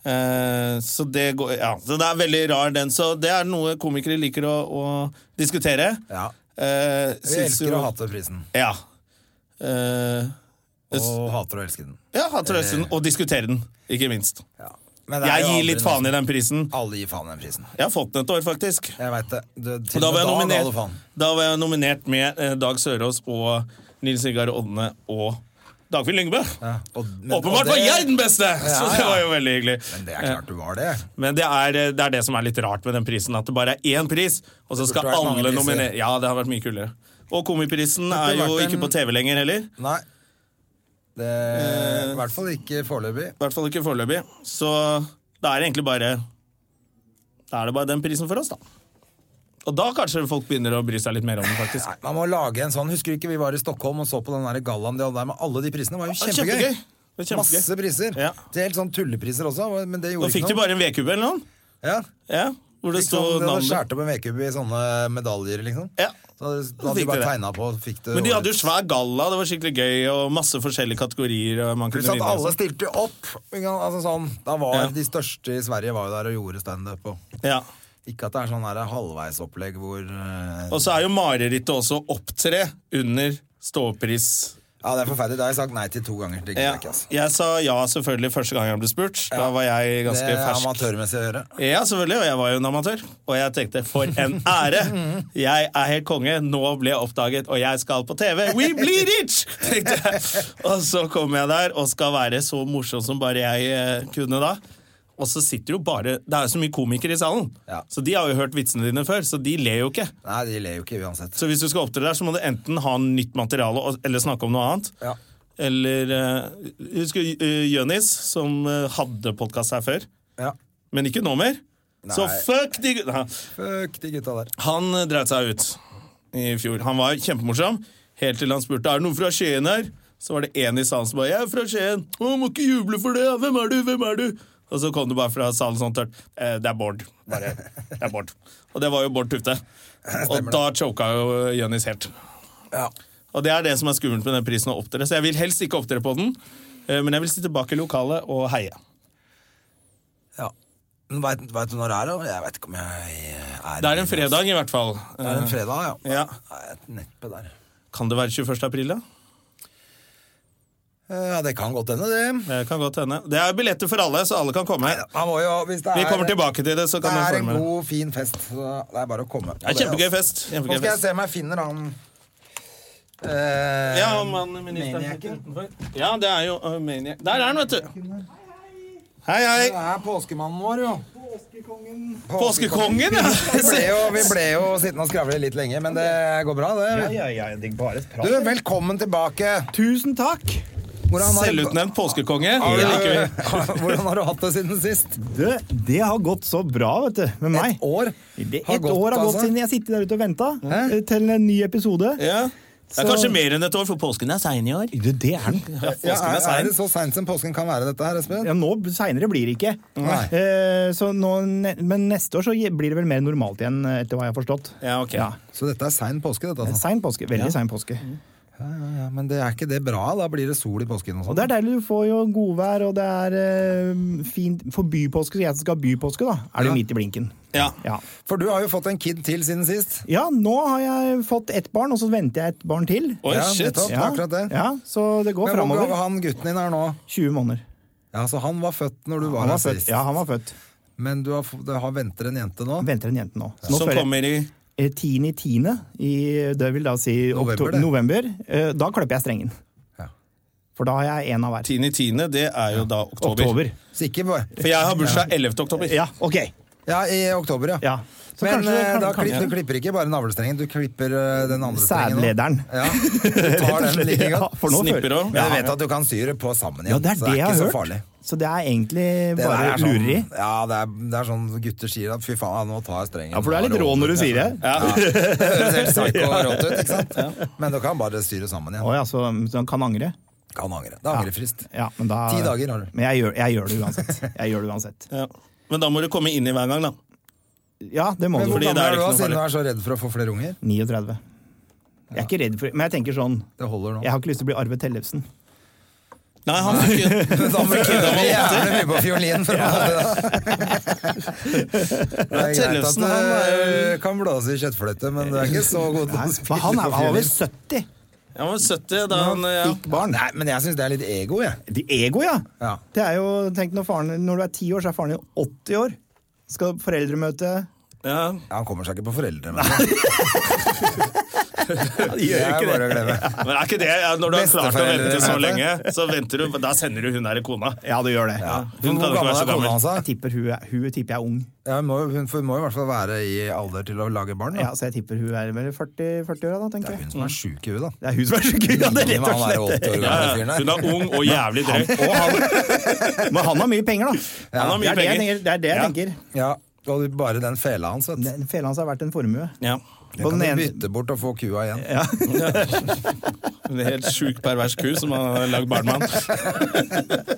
S1: Eh, så det går Ja, så det er veldig rar den. Så det er noe komikere liker å, å diskutere.
S2: Ja.
S1: Eh,
S2: Vi elsker å hate prisen,
S1: Ja. Eh,
S2: og hater å elske den.
S1: ja, hater høsten, og diskutere den, ikke minst.
S2: Ja. Eh. Men det er
S1: Jeg
S2: jo
S1: gir
S2: aldri
S1: litt
S2: noe-
S1: faen i den prisen.
S2: Alle gir faen i den prisen.
S1: Jeg har fått den et år, faktisk.
S2: Jeg veit det. Du,
S1: Og
S2: til
S1: da
S2: og
S1: var
S2: med
S1: jeg
S2: da ga du
S1: nominert,
S2: faen.
S1: da var jeg nominert med eh, Dag Sørås og Nils Ingar Odne og Dagfinn Lyngbø.
S2: Ja, og- men- og
S1: Åpenbart
S2: det-
S1: var jeg den beste! Så
S2: Ja,
S1: det
S2: ja.
S1: var jo veldig hyggelig. Eh,
S2: Men det er klart du var det.
S1: Men det er, eh, det er det som er litt rart med den prisen, at det bare er én pris, og så skal
S2: burde vært mange
S1: alle
S2: priser.
S1: nominere. Ja, det har vært mye kulere. Og Komiprisen
S2: burde
S1: er jo
S2: vært en-
S1: ikke på TV lenger heller.
S2: Nei. Det,
S1: Eh.
S2: I hvert fall ikke foreløpig.
S1: I hvert fall ikke foreløpig. Så da er det egentlig bare Da er det bare den prisen for oss, da. Og da kanskje folk begynner å bry seg litt mer om den, faktisk.
S2: Nei, Man må lage en sånn. Husker du ikke vi var i Stockholm og så på den der gallaen de hadde der med alle de prisene? Det var jo
S1: Det var
S2: kjempegøy.
S1: kjempegøy. Det var kjempegøy.
S2: Masse priser.
S1: Ja.
S2: Det er helt sånn tullepriser også, men det
S1: Nå
S2: gjorde
S1: fikk
S2: ikke
S1: de
S2: noe.
S1: bare en vedkubbe eller noe.
S2: Ja.
S1: Ja, hvor det
S2: Fikk
S1: sto
S2: sånn, de hadde
S1: navnet.
S2: skåret opp en vedkubbe i sånne medaljer, liksom.
S1: Ja.
S2: Så hadde, da hadde
S1: fikk
S2: de bare
S1: de det.
S2: tegna på, og fikk det
S1: Men de hadde jo
S2: årets.
S1: svær galla, det var skikkelig gøy, og masse forskjellige kategorier. Og man kunne
S2: Pluss at
S1: vinne og
S2: alle
S1: sånn.
S2: stilte jo opp. ikke sant? Altså sånn, da var
S1: Ja.
S2: De største i Sverige var jo der og gjorde standup. og
S1: Ja.
S2: Ikke at det er sånn der halvveisopplegg hvor eh,
S1: Og så er jo marerittet også å opptre under ståpris.
S2: Ja, det er forferdelig. Det har jeg sagt nei til to ganger. Det gidder
S1: Ja.
S2: jeg ikke, altså.
S1: Jeg sa ja selvfølgelig første gang jeg ble spurt. Da var jeg
S2: Det
S1: ganske
S2: er
S1: fersk.
S2: amatørmessig å gjøre.
S1: Ja, selvfølgelig, og jeg var jo en amatør. Og jeg tenkte for en ære! Jeg er helt konge, nå ble jeg oppdaget, og jeg skal på TV! We bleed it! tenkte jeg. Og så kom jeg der og skal være så morsom som bare jeg eh, kunne da. Og så sitter jo bare Det er jo så mye komikere i salen,
S2: Ja.
S1: så de har jo hørt vitsene dine før, så de ler jo ikke.
S2: Nei, de ler jo ikke uansett.
S1: Så hvis du skal opptre der, så må du enten ha nytt materiale og- eller snakke om noe annet.
S2: Ja.
S1: Eller eh, Husker du eh, Jonis, som eh, hadde podkast her før?
S2: Ja.
S1: men ikke nå mer. Så
S2: Nei.
S1: fuck de gutta!
S2: Fuck de gutta der.
S1: Han eh, dreit seg ut i fjor. Han var kjempemorsom, helt til han spurte er det noen fra Skien her. Så var det en i salen som bare 'Jeg er fra Skien'. 'Å, må ikke juble for det. Hvem er du? Hvem er du?' Og så kom det bare fra salen sånn tørt. Eh, 'Det er Bård'. Bare, det er Bård. Og det var jo
S2: *laughs*
S1: Bård Tufte. Og da choka jo Jønnis helt.
S2: Ja.
S1: Og det er det som er skummelt med den prisen å opptre. Så jeg vil helst ikke opptre på den, eh, men jeg vil sitte bak i lokalet og heie.
S2: ja. Men Veit vet du når det er? da? Jeg vet ikke om jeg er
S1: Det er en fredag, i hvert fall. Eh,
S2: Det er en fredag, ja.
S1: Ja.
S2: Nei, et neppe der.
S1: Kan det være 21. april, da?
S2: Eh, Ja, det kan godt hende, det.
S1: Det Eh, kan godt hende. Det er billetter for alle, så alle kan komme.
S2: Man må jo, hvis det er,
S1: Vi kommer tilbake til det, så
S2: Det
S1: kan man
S2: er
S1: følge
S2: en
S1: med.
S2: god, fin fest. Så det er bare å komme.
S1: Det er kjempegøy fest.
S2: Nå
S1: Kjempegøy
S2: skal jeg
S1: fest.
S2: se om jeg finner han eh,
S1: Ja, om han ministeren sitter
S2: Maniacen.
S1: utenfor. Ja, det er jo uh, maniac. Der er han, vet du. Hei,
S2: Det
S1: hei.
S2: er påskemannen vår, jo.
S1: Påskekongen,
S2: Vi ble
S1: ja.
S2: jo, vi ble jo sittende og skravle litt lenger, men det går bra, det. Du, velkommen tilbake.
S3: Tusen takk!
S2: Hvordan har,
S1: Selvutnevnt påskekonge. Det liker vi.
S2: du, hvordan har du hatt det siden sist?
S3: Det, det har gått så bra, vet du, med meg.
S2: Et år?
S3: Det,
S2: har
S3: et
S2: gått,
S3: år har gått
S2: altså.
S3: siden jeg har sittet der ute og venta til en ny episode.
S1: Ja. Det er kanskje mer enn et år, for påsken er sein i år.
S3: Det, det er den.
S1: Ja,
S2: Ja,
S1: påsken
S2: er,
S1: er
S2: er
S1: sein.
S2: det så seint som påsken kan være, dette her, Espen?
S3: Ja, nå Seinere blir det ikke.
S2: Nei.
S3: Eh, så nå, ne- men neste år så je- blir det vel mer normalt igjen, eh, etter hva jeg har forstått.
S1: Ja, ok.
S2: Så dette er sein påske, dette, altså.
S3: Sein påske. Veldig sein påske.
S2: Mm. Ja, men det er ikke det bra? Da blir det sol i påsken og
S3: Og
S2: sånn.
S3: det er deilig. Du får jo godvær, og det er eh, fint For bypåske, så jeg som skal ha bypåske, da, er
S2: Ja.
S3: det jo midt i blinken.
S1: Ja.
S3: Ja.
S2: For du har jo fått en kid til siden sist.
S3: ja, nå har jeg fått ett barn, og så venter jeg ett barn til.
S1: Oi,
S2: Ja,
S1: shit.
S2: nettopp.
S3: Ja,
S2: akkurat det.
S3: Ja, så det går
S2: Men hvor gammel
S3: framover.
S2: han gutten din er nå?
S3: 20 måneder.
S2: Ja, Så han var født når du var,
S3: Han var
S2: her
S3: født.
S2: sist.
S3: Ja, han var født.
S2: Men du har, f- du har venter en jente nå?
S3: Venter en jente nå. Så nå
S1: Som
S3: føler jeg-
S1: kommer i
S3: eh, 10. i 10. i Det vil da si
S2: November,
S3: oktober,
S2: det.
S3: november. eh, Da klipper jeg strengen.
S2: Ja.
S3: For da har jeg én av hver.
S1: tiende i tiende. Det er jo da oktober.
S3: Oktober.
S2: Så ikke bare
S1: For jeg har bursdag 11. oktober.
S3: Ja, OK.
S2: Ja, i oktober, ja.
S3: Ja. Så
S2: Men
S3: kanskje-
S2: eh, da
S3: kanskje-
S2: klipp, du klipper ikke bare navlestrengen, du klipper eh, den andre strengen.
S3: Sædlederen.
S2: også. Ja,
S3: *laughs*
S2: du tar den like
S3: Ja,
S2: godt.
S3: for nå
S1: Snipper
S3: føler-
S1: også.
S2: Men jeg vet at du kan sy det på sammen igjen,
S3: Ja, det er
S2: så
S3: det
S2: det
S3: jeg
S2: er
S3: har
S2: ikke så
S3: hørt.
S2: farlig.
S3: Så det er egentlig
S2: Det der
S3: bare
S2: er sånn-
S3: lureri.
S2: Ja, det er, det er sånn gutter sier at fy faen, nå tar jeg strengen.
S3: Ja, for du er litt rå når du sier det.
S1: Ja.
S2: Det høres helt psycho
S3: *laughs*
S2: og rått ut, ikke sant? Men du kan bare styre sammen
S3: Å
S2: igjen.
S3: ja, så så han kan angre.
S2: Kan angre. Det er angrefrist.
S3: Ja, men da,
S2: Ti dager har du.
S3: Men jeg gjør, jeg gjør det uansett. Jeg gjør det uansett.
S1: Ja. Men da må du komme inn i hver gang, da.
S3: Ja, det må
S2: Men
S3: du.
S2: hvor
S1: Fordi
S2: gammel
S1: det
S2: er
S1: er
S2: du da,
S1: ikke noe
S2: siden du
S1: farlig.
S2: er så redd for å få flere unger?
S3: 39. Jeg er ikke redd for Men jeg tenker sånn
S2: Det holder nå.
S3: Jeg har ikke lyst til å bli Arve Tellefsen.
S1: Nei, han er ikke
S2: *laughs* Da
S3: *laughs*
S2: må du øve jævlig mye på fiolin for å holde det. Det er greit at eh,
S1: Tellefsen, han er
S2: du kan blåse i kjøttfløyte, men du er ikke så god til å
S3: For
S2: spille
S3: han er
S2: på
S3: var over
S2: fiolin.
S3: 70
S1: Han var 70 da han ja.
S3: fikk barn.
S2: Nei, men jeg syns det er litt ego, jeg.
S3: De ego, ja.
S2: Ja.
S3: Det er jo, tenk når, faren, når du er 10 år, så er faren din 80 år. Skal foreldremøte
S1: ja.
S2: Ja, Han kommer seg ikke på *laughs* foreldremøte. Det er bare å glemme.
S1: Men er ikke det ja, Når du har klart å
S2: Besteforeldre,
S1: vente så
S2: vet
S1: lenge, så venter du Da sender du hun der i kona.
S3: Ja, du gjør det.
S2: Ja.
S1: Hun
S2: Hvor
S1: kan ikke
S2: gammel
S1: være
S2: er
S1: så
S2: kona
S1: gammel.
S2: hans?
S3: Jeg
S2: da?
S3: tipper hun, er- hun tipper jeg er ung.
S2: Ja, hun må, hun får- må i hvert fall være i alder til å lage barn. Da.
S3: Ja, så jeg tipper hun er vel i 40 40-åra, da, tenker
S2: Det er
S3: jeg.
S2: hun som er sjuk i huet, da.
S3: Det er hun som er så gøy, *laughs* ja, det er rett og
S2: Han er
S3: slett.
S2: 80 år
S1: Ja,
S2: gammel
S1: ja.
S2: fyren
S1: hun
S2: der.
S1: er ung og jævlig drøy.
S3: Og han, men han har mye penger, da.
S1: Han har
S3: det
S1: mye
S3: er det jeg
S1: penger.
S3: tenker. Det er det jeg
S1: Ja.
S3: tenker.
S2: Ja, og du- bare den fela hans, vet du.
S3: Den Fela hans har vært en formue.
S1: *laughs* Ja.
S2: Den kan
S3: den
S2: du
S3: ene-
S2: bytte bort og få kua igjen.
S1: En helt sjuk, pervers ku som han har lagd barn med han.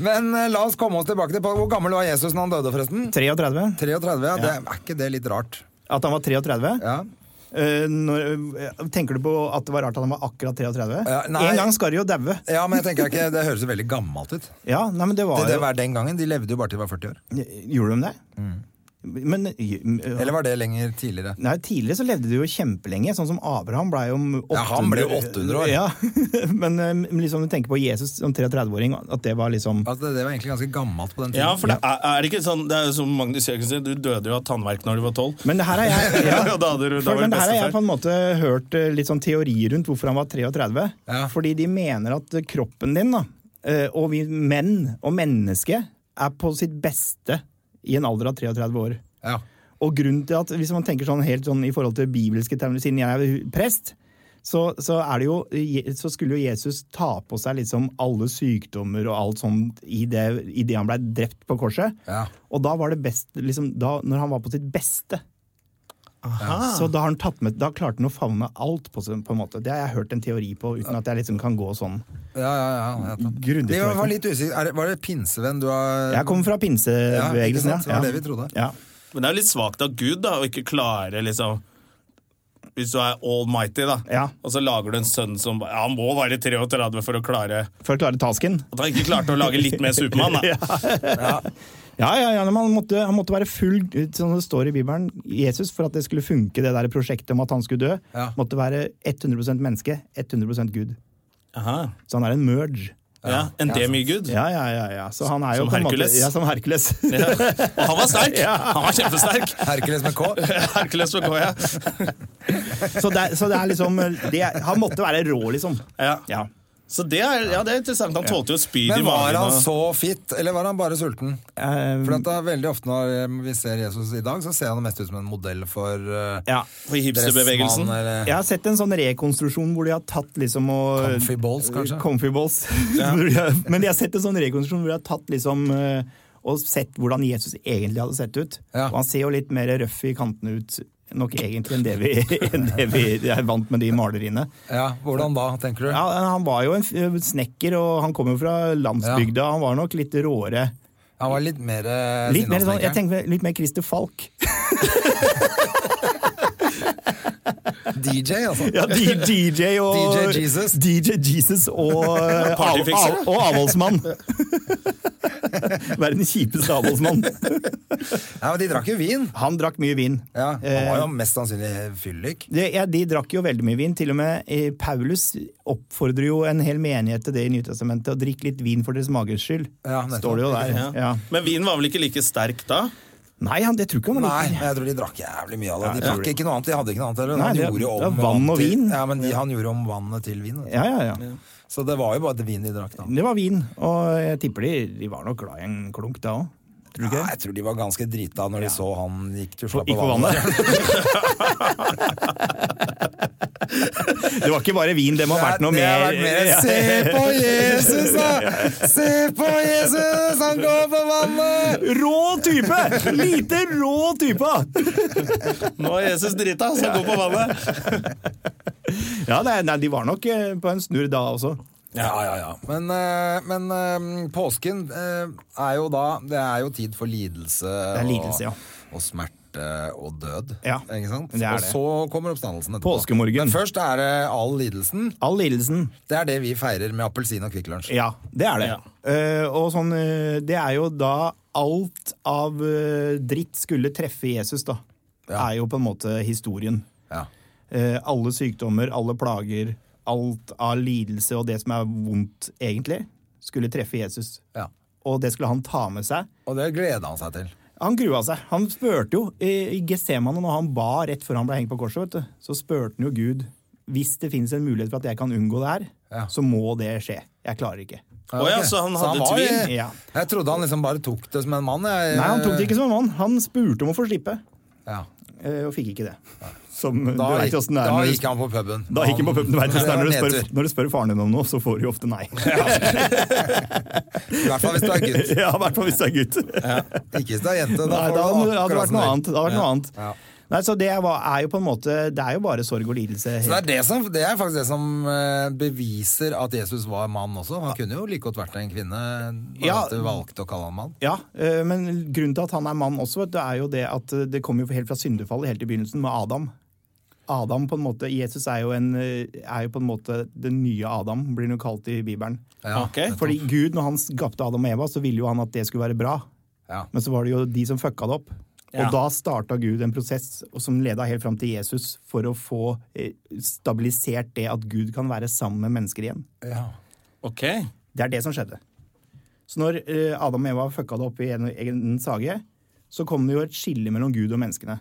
S2: Men eh, la oss komme oss tilbake til Hvor gammel var Jesus når han døde, forresten?
S3: 33.
S2: 33, ja. Det, er ikke det litt rart?
S3: At han var 33?
S2: Ja.
S3: eh, når, Tenker du på at det var rart at han var akkurat 33?
S2: Ja, nei.
S3: en gang skal de jo daue.
S2: Ja, men jeg tenker ikke, Det høres jo veldig gammelt ut.
S3: Ja, nei, men det
S2: Det,
S3: var
S2: det
S3: jo
S2: var den gangen, De levde jo bare til de var 40 år.
S3: Gjorde de det? Men eh,
S2: Eller var det lenger tidligere?
S3: Nei, Tidligere så levde de jo kjempelenge, sånn som Abraham blei om 800
S2: Ja, han ble jo 800 år.
S3: Ja, *laughs* Men eh, liksom, du tenker på Jesus som 33-åring, at det var liksom
S2: Altså, det, det var egentlig ganske gammelt på den tiden.
S1: Ja, for det er, er det ikke sånn Det er jo som Magnus Jørgensen, sier, du døde jo av tannverk når du var tolv.
S3: Men det her har jeg,
S1: *laughs* Ja, da hadde du- da
S3: for,
S1: var det
S3: men det her har
S1: bestefar.
S3: jeg på en måte hørt eh, litt sånn teori rundt hvorfor han var 33.
S2: Ja.
S3: Fordi de mener at eh, kroppen din, da, eh, og vi menn og mennesket, er på sitt beste i en alder av 33 år.
S2: Ja.
S3: Og grunnen til at, hvis man tenker sånn helt sånn i forhold til bibelske termer, siden jeg er prest, så, så, er det jo, så skulle jo Jesus ta på seg liksom alle sykdommer og alt sånt i det, i det han ble drept på korset.
S2: Ja.
S3: Og da var det best, liksom, da, når han var på sitt beste. Så da, har han tatt med, da klarte han å favne alt, på, sin- på en måte. Det har jeg hørt en teori på, uten at jeg liksom kan gå sånn.
S2: Ja, ja, ja. ja.
S3: Grundig
S2: Vi var,
S3: forventning.
S2: var litt usikre. Er det- Var det pinsevenn du har
S3: Jeg kommer fra pinsebevegelsen,
S2: Ja, ikke sant? Det var det vi trodde.
S3: Ja.
S1: Men det er jo litt svakt av Gud da, å ikke klare liksom Hvis du er almighty, da,
S3: Ja.
S1: og så lager du en sønn som ja, Han må være 33 for å klare
S3: For å klare tasken.
S1: At han ikke klarte å lage litt mer Supermann, da.
S3: Ja, ja, ja, men han måtte, han måtte være full, som det står i Bibelen, Jesus, for at det skulle funke, det der prosjektet om at han skulle dø.
S2: Ja.
S3: Måtte være 100 menneske, 100 Gud.
S1: Aha.
S3: Så han er en merge.
S1: Ja, en demigud.
S3: Ja, ja, ja. ja. Så han er jo
S1: Som
S3: på en måte-
S1: Hercules.
S3: Ja, som Hercules.
S1: *laughs* Ja. Og han var sterk! Han var kjempesterk! *laughs*
S2: Hercules
S3: *laughs*
S2: med K?
S1: Hercules med K, ja.
S3: så, det, er- så det er liksom det, er- Han måtte være rå, liksom.
S1: ja.
S3: Ja.
S1: Så det er, ja, det er interessant. Han tålte jo spyd i
S2: Men var
S1: magen.
S2: han
S1: og-
S2: så fit, eller var han bare sulten?
S3: Eh,
S2: For at da, veldig ofte når eh, vi ser Jesus i dag, så ser han mest ut som en modell for eh,
S3: ja.
S1: For hipsterbevegelsen.
S2: dressmann, eller-
S3: Jeg har sett en sånn rekonstruksjon hvor de har tatt liksom og
S2: Comfy balls, kanskje?
S3: Comfy
S2: *laughs*
S3: balls. *laughs* Hvor de har- Men jeg har sett en sånn rekonstruksjon hvor de har tatt liksom eh, og sett hvordan Jesus egentlig hadde sett ut.
S2: Ja.
S3: Og han ser jo litt mer røff i kantene ut nok egentlig enn det vi, *laughs* enn det vi er vant med de maleriene.
S2: Ja, hvordan da, tenker du?
S3: Ja, han var jo en f- eh, snekker, og han kom jo fra landsbygda. Han var nok litt råere.
S2: Han var litt mer eh,
S3: Litt mer, sånn, jeg
S2: sinnasnekker.
S3: tenker litt mer Christer Falk.
S2: *laughs* DJ, altså.
S3: *laughs* Ja, D- DJ
S2: *laughs*
S3: og
S2: DJ Jesus.
S3: DJ Jesus
S2: *laughs*
S3: og, eh, av,
S1: Partyfikser.
S3: av, og avholdsmann. *laughs* Verdens kjipeste avholdsmann.
S2: Ja, men de drakk jo vin.
S3: Han drakk mye vin.
S2: Ja, han var
S3: Eh,
S2: jo mest sannsynlig fyllik.
S3: det, ja, de drakk jo veldig mye vin. Til og med eh, Paulus oppfordrer jo en hel menighet til det i Nytestamentet. Å drikke litt vin for deres magers skyld.
S2: Ja, nettopp.
S3: Står det jo der.
S1: Ja.
S3: Ja.
S1: Men vinen var vel ikke like sterk da?
S3: Nei, han, det tror ikke han
S2: Nei,
S3: var
S2: men
S3: liten.
S2: jeg tror de drakk jævlig mye av det.
S3: Ja, jeg
S2: De
S3: tror
S2: drakk
S3: det.
S2: ikke noe annet, de hadde ikke noe annet. Eller?
S3: Nei,
S2: han
S3: det-
S2: gjorde jo om
S3: det var vann og
S2: til-
S3: vin.
S2: Ja, men de, han gjorde om vannet til vin. vet du.
S3: Ja, Mm, ja, ja.
S2: Så det var jo bare vin de drakk da.
S3: Det var vin, og jeg tipper de, de var nok glad i en klunk da òg. Tror du ikke?
S2: Nei, jeg tror de var ganske drita når de så han gikk tusla
S3: Gikk på vannet. *laughs* det var ikke bare vin, det må ha vært noe
S2: det har
S3: mer.
S2: vært
S3: *laughs*
S2: mer. Se på Jesus, da! Se på Jesus, han går på vannet!
S3: Rå type! Lite rå type!
S1: Nå er Jesus drita, så gå på vannet!
S3: Ja, nei, nei, De var nok eh, på en snurr da også.
S2: Ja, ja, ja. Men, eh, men eh, påsken eh, er jo da Det er jo tid for lidelse.
S3: er lidelse, ja.
S2: og, og smerte og død.
S3: Ja,
S2: Ikke sant?
S3: det er
S2: og
S3: det.
S2: så kommer oppstandelsen etterpå.
S3: Påskemorgen.
S2: Men først er det all lidelsen.
S3: All lidelsen.
S2: Det er det vi feirer med appelsin og Kvikk Lunsj.
S3: Ja, det er det.
S1: Ja.
S3: Eh, og sånn, eh, det er jo da alt av eh, dritt skulle treffe Jesus, da.
S2: Ja.
S3: Er jo på en måte historien.
S2: Ja.
S3: Eh, alle sykdommer, alle plager, alt av lidelse og det som er vondt, egentlig, skulle treffe Jesus.
S2: Ja.
S3: Og det skulle han ta med seg.
S2: Og det gleda han seg til.
S3: Han grua seg. Han spurte jo i i Getsemane, når han ba rett før han ble hengt på korset, vet du, så spurte han jo Gud hvis det finnes en mulighet for at jeg kan unngå det her,
S2: Ja.
S3: så må det skje. Jeg klarer ikke.
S1: Å ja, så han hadde
S2: var-
S1: tvil?
S3: Ja.
S2: Jeg trodde han liksom bare tok det som en mann. Jeg,
S3: Nei, han tok
S2: Eh.
S3: det ikke som en mann. Han spurte om å få slippe,
S2: Ja.
S3: eh, og fikk ikke det. Som, du
S2: Da,
S3: vet
S2: gikk,
S3: jo åssen det er
S2: da
S3: når du-
S2: gikk han på puben.
S3: Da gikk han på puben. Du vet, hvordan det er når, du
S2: Det var
S3: spør,
S2: nedtur.
S3: når du spør faren din om noe, så får du jo ofte nei.
S2: I hvert fall hvis du er gutt.
S3: *laughs* Ja, i hvert fall hvis du er gutt.
S2: Ikke hvis du er jente.
S3: Nei,
S2: får
S3: da
S2: du
S3: hadde det
S2: akkurat
S3: hadde vært
S2: som du
S3: noe
S2: vil.
S3: annet. Det hadde vært noe annet.
S2: Ja.
S3: Nei, så det var, er jo på en måte Det er jo bare sorg og lidelse.
S2: Så det er, det, som, det er faktisk det som eh, beviser at Jesus var mann også. Han kunne jo like godt vært en kvinne, bare
S3: Ja.
S2: at du valgte å kalle han mann.
S3: Ja, eh, men grunnen til at han er mann også, vet du, er jo det at eh, det kommer jo helt fra syndefallet helt i begynnelsen, med Adam. Adam på en måte, Jesus er jo, en, eh, er jo på en måte den nye Adam, blir han jo kalt i Bibelen.
S2: Ja,
S1: Ok.
S2: nettopp.
S3: Fordi Gud, når han skapte Adam og Eva, så ville jo han at det skulle være bra.
S2: ja.
S3: Men så var det jo de som fucka det opp.
S1: Ja.
S3: Og da starta Gud en prosess som leda helt fram til Jesus, for å få eh, stabilisert det at Gud kan være sammen med mennesker igjen.
S2: ja.
S1: Ok.
S3: Det er det som skjedde. Så når eh, Adam og Eva fucka det opp i en egen sage, så kom det jo et skille mellom Gud og menneskene.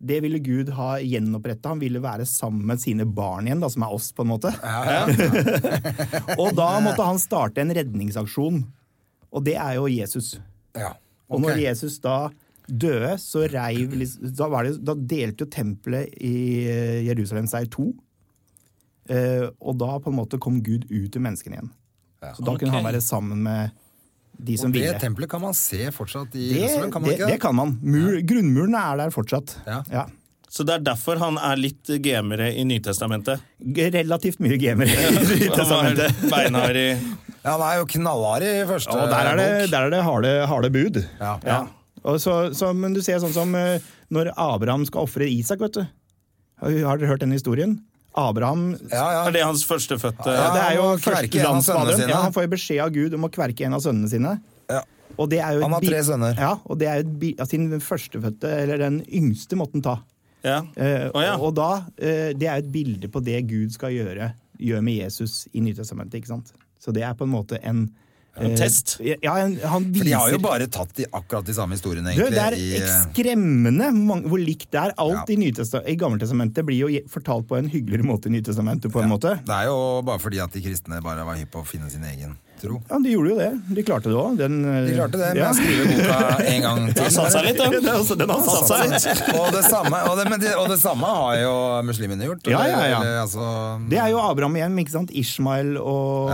S3: Det ville Gud ha gjenoppretta. Han ville være sammen med sine barn igjen, da, som er oss, på en måte. *laughs* og da måtte han starte en redningsaksjon. Og det er jo Jesus.
S2: ja.
S3: Og når
S2: Ok.
S3: Jesus da døde, så reiv liksom- da, var det, da delte jo tempelet i eh, Jerusalem seg i to. Eh, og da på en måte kom Gud ut til menneskene igjen. så da kunne han
S1: ok.
S3: være sammen med de som
S2: Og det
S3: ville.
S2: tempelet kan man se fortsatt i
S3: det,
S2: Jerusalem, kan man
S3: det,
S2: ikke
S3: det kan man. Mur, Grunnmuren er der fortsatt.
S2: Ja.
S1: Så det er derfor han er litt gamere i Nytestamentet.
S3: G- Relativt mye gamer *laughs* i
S1: Han var
S3: testamentet.
S1: beinhard i
S2: Ja, han er jo knallhard i første
S3: Og der er det,
S2: bok.
S3: der er det harde, harde bud.
S2: Ja.
S3: Ja. Og så, så, men du ser sånn som eh, når Abraham skal ofre Isak, vet du. Har har dere hørt den historien? Abraham
S2: Ja, ja.
S1: Er det hans førstefødte
S2: Ja,
S3: Det er jo
S2: han må
S3: første
S2: kverke en av
S3: landsfaderen.
S2: sønnene sine.
S3: Ja, han får jo beskjed av Gud om å kverke en av sønnene sine.
S2: Ja.
S3: Og det er jo et
S2: Han har
S3: bi-
S2: tre sønner.
S3: Ja, og det er jo et bi- altså, den førstefødte, eller den yngste, måtte han ta.
S1: Ja.
S3: Eh,
S1: Å, ja.
S3: Og da, eh, Det er jo et bilde på det Gud skal gjøre gjør med Jesus i Nytestamentet. ikke sant? Så det er på en måte en eh,
S1: test.
S3: Ja, en, han
S2: For
S3: viser
S2: de har jo bare tatt de, akkurat de samme historiene,
S3: du,
S2: egentlig.
S3: det er
S2: i, eh,
S3: skremmende hvor mange- hvor likt det er.
S2: Ja.
S3: Alt i, Nytesta- i Gammeltestamentet blir jo je- fortalt på en hyggeligere måte i Nytestamentet. på en måte.
S2: det er jo bare fordi at de kristne bare var hypp på å finne sin egen tro.
S3: Ja, De gjorde jo det. De klarte det òg.
S2: De klarte det med
S3: Eh, Ja.
S2: å skrive boka en
S3: *laughs*
S2: gang til.
S1: Han satt seg litt, da.
S3: Den har satt- den har
S1: Han
S3: satt
S1: satt seg
S3: seg.
S1: litt.
S2: og, det samme, og, det, men det, og det samme har jo muslimene gjort.
S3: Ja, ja, ja.
S2: Eller, altså,
S3: Det er jo Abraham igjen, ikke sant? Ishmael, og,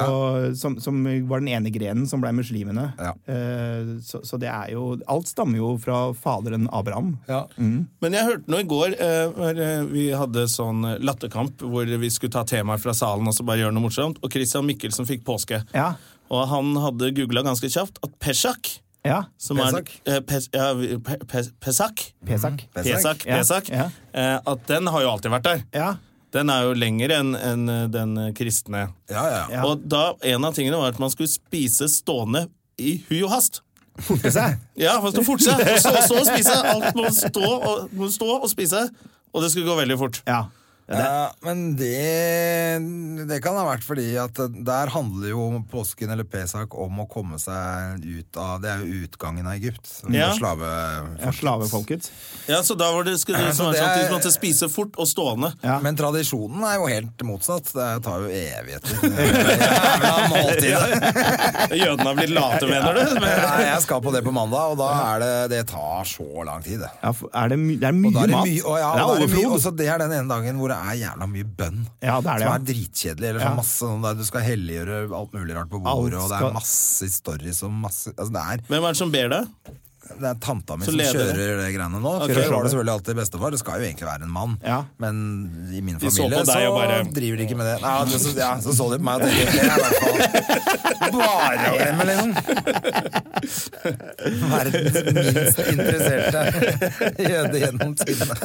S2: Ja.
S3: som, som var den ene grenen som ble muslimene.
S2: Ja.
S3: Eh, så, så det er jo Alt stammer jo fra faderen Abraham.
S2: ja.
S3: Mm.
S1: Men jeg hørte noe i går. eh, hvor, eh, Vi hadde sånn latterkamp hvor vi skulle ta temaer fra salen og så bare gjøre noe morsomt. Og Christian Mikkelsen fikk påske.
S3: Ja.
S1: Og han hadde googla ganske kjapt at Pesjak
S3: Ja.
S1: som
S2: Pesak.
S1: er eh, pes, ja, vi- pe, pes, Pesak,
S3: Pesak.
S2: Pesak.
S1: Pesak,
S3: Ja,
S1: Pesak
S3: ja.
S1: eh, at den har jo alltid vært der.
S3: Ja.
S1: Den er jo lengre enn enn den kristne.
S2: Ja, ja, ja.
S1: Og da, en av tingene var at man skulle spise stående i hui og hast.
S3: Forte seg.
S1: Ja, man skulle forte seg, og så, så spise. Alt må stå, og, må stå og spise. Og det skulle gå veldig fort.
S3: Ja.
S2: *laughs* Ja, men det, det kan ha vært fordi at der handler jo om påsken eller Pesak om å komme seg ut av Det er jo utgangen av Egypt. som
S1: Ja.
S2: var Slave,
S3: ja. Slavefolket.
S1: Ja, så da var det, skulle det,
S2: Ja, så
S1: som var
S2: det
S1: sånn, at
S2: er-
S1: de måtte spise fort og stående.
S3: Ja.
S2: Men tradisjonen er jo helt motsatt. Det tar jo
S3: *laughs*
S2: evigheter. Jævla måltidet.
S1: Jødene har blitt late, mener du? Men,
S2: Nei, Jeg skal på det på mandag, og da er det Det tar så lang tid, det.
S3: Ja, for er det, my det er
S2: Og da
S3: mye
S2: er det
S3: mat.
S2: mye, og ja, og
S3: det er
S2: da er det mye,
S3: overflod.
S2: også det er den ene dagen hvor det er jævla mye bønn.
S3: Ja, det er det,
S2: som
S3: ja.
S2: er dritkjedelig. Eller så
S3: Ja.
S2: masse sånn der, Du skal helliggjøre alt mulig rart på
S3: Alt
S2: bordet, og det
S3: skal-
S2: er masse stories og masse altså det, er,
S1: hvem er det som ber deg?
S2: det er tanta mi
S1: Så
S2: som
S1: leder
S2: kjører det greiene nå.
S1: Ok.
S2: Før var det selvfølgelig alltid bestefar. Det skal jo egentlig være en mann.
S3: Ja.
S2: Men i min
S1: De så
S2: familie så,
S1: på deg og bare-
S2: driver de ikke med det. Nei, altså, så, ja, så så de på meg og tenkte det er i
S3: *laughs*
S2: hvert fall bare å glemme, liksom. *laughs* Verdens minst interesserte *laughs* jøde gjennom tidene.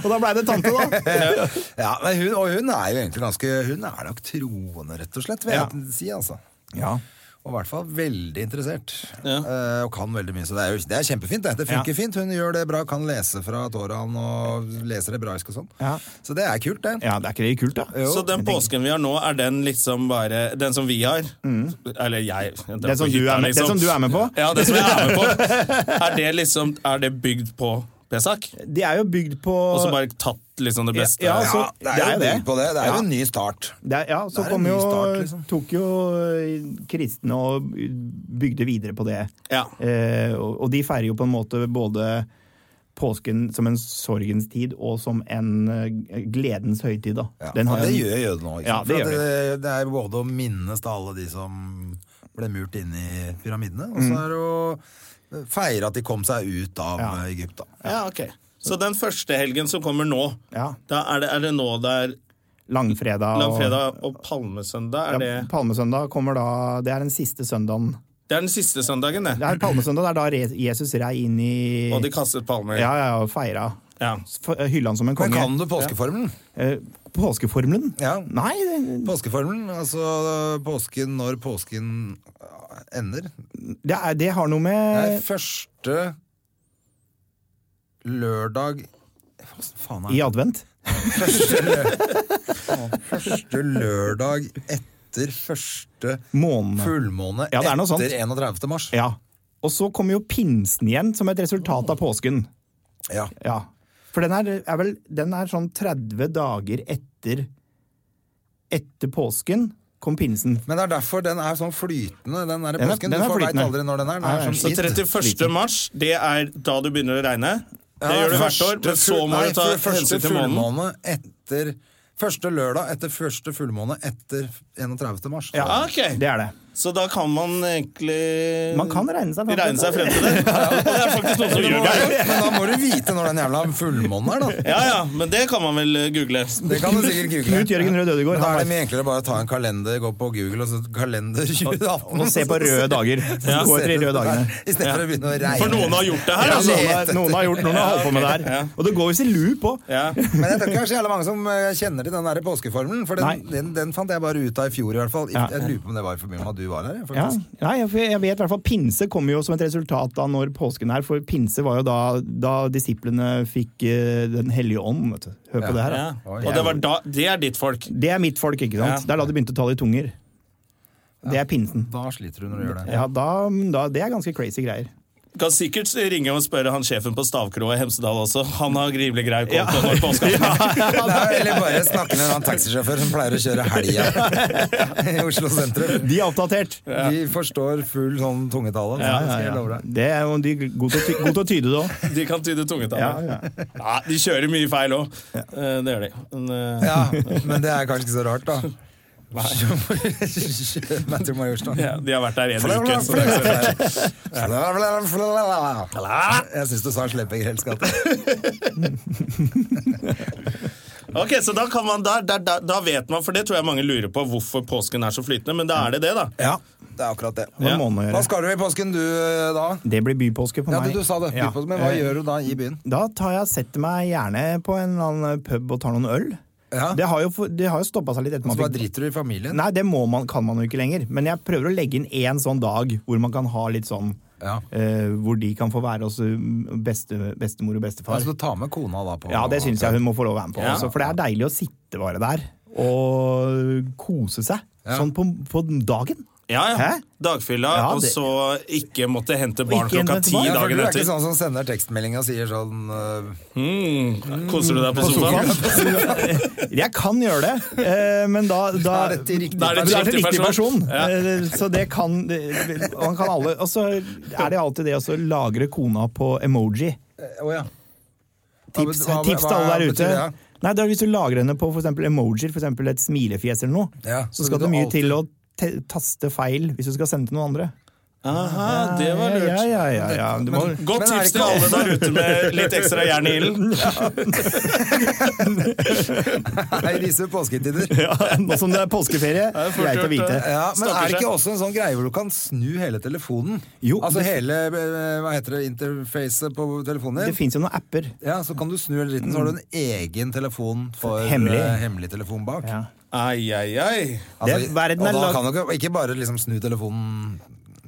S3: Og da blei det tante, da.
S2: *laughs* Ja, men hun, og hun er jo egentlig ganske Hun er nok troende, rett og slett, vil jeg si. altså
S3: ja.
S2: Og i hvert fall veldig interessert.
S1: Ja.
S2: Eh, og kan veldig mye. Så det er, jo, det er kjempefint. Det, det funker fint. Hun gjør det bra, kan lese fra Toraen og leser hebraisk og sånn.
S3: Ja.
S2: Så det er kult, det.
S3: ja, det er ikke det kult, da?
S2: Jo.
S1: Så den påsken vi har nå, er den liksom bare Den som vi har? Eller jeg. jeg drar
S3: Mm. Den som
S1: på
S3: du
S1: hytta, liksom.
S3: er med- den som du er med på?
S1: Ja, den som jeg er med på.
S3: *laughs*
S1: Er det liksom Er det bygd på Pesak?
S3: De er jo bygd på
S1: Og så bare tatt liksom det beste?
S3: Ja,
S2: Ja,
S3: altså,
S2: det
S3: det
S2: er
S3: er
S2: jo
S3: det.
S2: bygd på det. Det er
S3: Ja.
S2: jo en ny start.
S3: Det er, ja, så
S2: Det er en
S3: kom
S2: ny
S3: jo,
S2: start, liksom.
S3: tok jo eh, kristne og bygde videre på det.
S1: Ja.
S3: Eh, og, og de feirer jo på en måte både påsken som en sorgens tid og som en eh, gledens høytid. Da.
S2: Ja.
S3: Den har
S2: og det
S3: en-
S2: gjør jødene òg.
S3: Ja, det gjør
S2: det, det er både å minnes til alle de som ble murt inn i pyramidene, og så er det å feire at de kom seg ut av
S3: Mm. Ja.
S2: eh, Egypt. da
S1: ja, ok. Så den første helgen som kommer nå,
S3: Ja.
S1: da er det, er det nå det er
S3: Langfredag. og-
S1: langfredag og palmesøndag?
S3: Ja,
S1: Er det,
S3: Palmesøndag kommer da Det er den siste søndagen.
S1: det er den siste søndagen,
S3: Det
S1: det.
S3: er palmesøndag, det er da re- Jesus rei inn i
S1: Og de kastet palmer.
S3: Ja, ja, og feira.
S1: Ja.
S3: f- hylle han som en
S2: Men
S3: konge.
S2: kan du påskeformelen?
S3: Eh, påskeformelen?
S2: Ja.
S3: Nei, det-
S2: Påskeformelen, altså påsken når påsken eh, ender.
S3: det, er, det har noe
S2: Det
S1: Eh.
S3: med
S2: er første lørdag Hva faen er
S3: I
S2: det?
S3: advent.
S2: Første, lø- første lørdag etter første
S3: Månene.
S2: fullmåne
S3: Ja, det er noe sånt.
S2: etter 31. mars.
S3: Ja. Og så kommer jo pinsen igjen, som et resultat av påsken.
S2: Ja.
S3: Ja. For den er, er vel den er sånn 30 dager etter Etter påsken kom pinsen.
S2: Men det er derfor den er sånn flytende, den der
S3: Den er-
S2: påsken.
S3: den er
S2: du får veit
S3: flytende.
S2: aldri når den er. Den
S3: Nei,
S2: er
S3: nei,
S2: sånn
S1: Så
S3: shit.
S2: skitt.
S1: 31. mars, det er da du begynner å regne. Det gjør du hvert år, men så må du ta hensyn til måneden.
S2: fullmåne etter Første lørdag etter første fullmåne etter 31. mars.
S1: Ja, Ah, ok.
S3: Det er det.
S1: Så da kan man egentlig
S3: Man kan regne seg frem til
S1: regne
S3: det.
S1: seg
S2: *laughs*
S1: frem til
S3: *laughs*
S1: det. Og det er faktisk noen som gjør det.
S2: Men da må du vite når den jævla fullmånen er, da.
S1: Ja, ja, men det kan man vel eh, google.
S2: Det kan du sikkert google.
S3: Knut Jørgen Rød Ødegård.
S2: Men da er
S3: han var-
S2: det mye enklere å bare ta en kalender, gå på Google og så kalender 2018.
S3: Og se på røde dager.
S2: Ja.
S3: Gå etter de røde dagene.
S2: I stedet for å begynne å regne.
S1: For noen har gjort det her,
S2: Ja,
S1: altså.
S3: Noen har, noen har gjort noen har holdt på med det her.
S1: Ja.
S3: Og det går visst i loop òg.
S1: Ja.
S2: Men jeg tror ikke det er så jævla mange som eh, kjenner til den der påskeformelen, for den,
S3: Nei.
S2: den, den fant jeg bare ut av i fjor i hvert fall.
S3: Ja.
S2: Jeg lurer på om det var i forbindelse med at du var her,
S3: Ja.
S2: faktisk.
S3: Nei, jeg- jeg vet i hvert fall Pinse kommer jo som et resultat av når påsken er, for pinse var jo da, da disiplene fikk eh, Den hellige ånd. Vet du. Hør på det her,
S1: Ja.
S3: da.
S1: Og det, var da, det er ditt folk.
S3: Det er mitt folk, ikke sant?
S1: Ja.
S3: Det er da de begynte å ta det i tunger. Det er pinsen.
S2: Da sliter du når du gjør det.
S3: Ja, da, da, det er ganske crazy greier.
S1: Kan sikkert ringe og spørre han sjefen på Stavkroa i Hemsedal også. Han har rimelig grei koll på når påska
S2: *laughs*
S1: kommer.
S2: Nei, eller bare snakke med en annen taxisjåfør som pleier å kjøre helga
S3: *laughs*
S2: *laughs* i Oslo sentrum.
S3: De er oppdatert!
S2: De forstår full sånn tungetale. det skal jeg love deg.
S3: Det er jo de er gode til å ty- gode til å tyde det
S2: *laughs*
S3: òg.
S1: De kan tyde tungetallet.
S3: Ja,
S1: Nei, de kjører mye feil òg. Det gjør de. Men, eh,
S2: Ja, men det er kanskje ikke så rart, da. Kjøpmann til Majorstuen.
S1: ja, de har vært der en uke. Så det er ikke så rart.
S2: Jeg syns du sa Sleppegreldskapet.
S1: Ok, så da, kan man, da, da, da, da vet man, for det tror jeg mange lurer på, hvorfor påsken er så flytende. Men da er det det, da.
S2: Ja, det er akkurat det.
S3: Hva må man gjøre?
S2: Hva skal du i påsken, du, da?
S3: Det blir bypåske for
S2: Ja,
S3: meg.
S2: du, du sa det.
S3: Ja. Eh,
S2: Men hva gjør du da i byen?
S3: Da tar jeg, setter meg gjerne på en eller annen pub og tar noen øl.
S2: Ja.
S3: Det har jo, for- det har jo stoppa seg litt etter
S2: Så
S3: man
S2: bare
S3: fikk
S2: driter du i familien?
S3: Nei, det må man, kan man jo ikke lenger. Men jeg prøver å legge inn én sånn dag hvor man kan ha litt sånn
S2: Ja.
S3: eh, Hvor de kan få være hos eh, beste, bestemor og bestefar.
S2: Altså, du tar med kona da på
S3: Ja, det syns jeg hun må få lov å være med på.
S1: Ja.
S3: Også, for det er deilig å sitte bare der og kose seg.
S2: Ja.
S3: Sånn på, på dagen.
S1: Ja, ja.
S3: Hæ?
S1: Dagfylla,
S3: Ja,
S1: og
S3: det-
S1: så ikke måtte hente barn
S3: Ikke
S1: klokka
S3: hente
S1: ti
S3: barn.
S2: ja, for
S1: dagen
S2: Du er
S1: etter.
S2: ikke sånn som sender tekstmelding og sier sånn øh,
S1: Mm. Koser du deg på sofaen?
S3: Jeg kan gjøre det, eh, men da, da
S2: Da er det til riktig
S3: da er det til
S1: person.
S3: riktig person.
S1: Ja.
S3: Eh, Så det kan Man kan alle Og så er det alltid det å så lagre kona på emoji.
S2: Å ja.
S3: Tips,
S2: Hva- hva-
S3: tips til alle
S2: hva
S3: der
S2: betyr
S3: ute.
S2: det, ja?
S3: Nei, det er Hvis du lagrer henne på for eksempel emojier, f.eks. et smilefjes eller noe,
S2: Ja, så
S3: så skal
S2: vil
S3: det
S2: du
S3: mye
S2: alltid-
S3: til å te taste feil hvis du skal sende til noen andre.
S1: Aha, det var lurt.
S3: Ja, ja, ja, ja. Du må, *laughs*
S1: Godt
S2: Men er
S1: tips
S2: det
S1: til
S2: ikke-
S1: alle der ute med litt ekstra jern i
S2: *laughs*
S1: ilden.
S2: Nei, i disse påsketider.
S3: ja, nå som det er påskeferie,
S1: er fort
S3: greit å
S1: gjort,
S3: vite.
S1: det.
S2: Ja, men
S1: Stakker
S2: er det
S1: seg.
S2: ikke også en sånn greie hvor du kan snu hele telefonen?
S3: Jo,
S2: altså
S3: det-
S2: hele øh, hva heter det, interfacet på telefonen
S3: Det
S2: din?
S3: fins jo noen apper.
S2: Ja, Så kan du snu hele dritten, så har du en egen telefon for
S3: Hemmelig.
S2: øh, hemmelig telefon bak.
S3: Ja.
S1: Ai, ai, ai.
S2: Altså,
S3: Det- verden er
S2: og da
S3: lag-
S2: kan du ikke, ikke bare liksom snu telefonen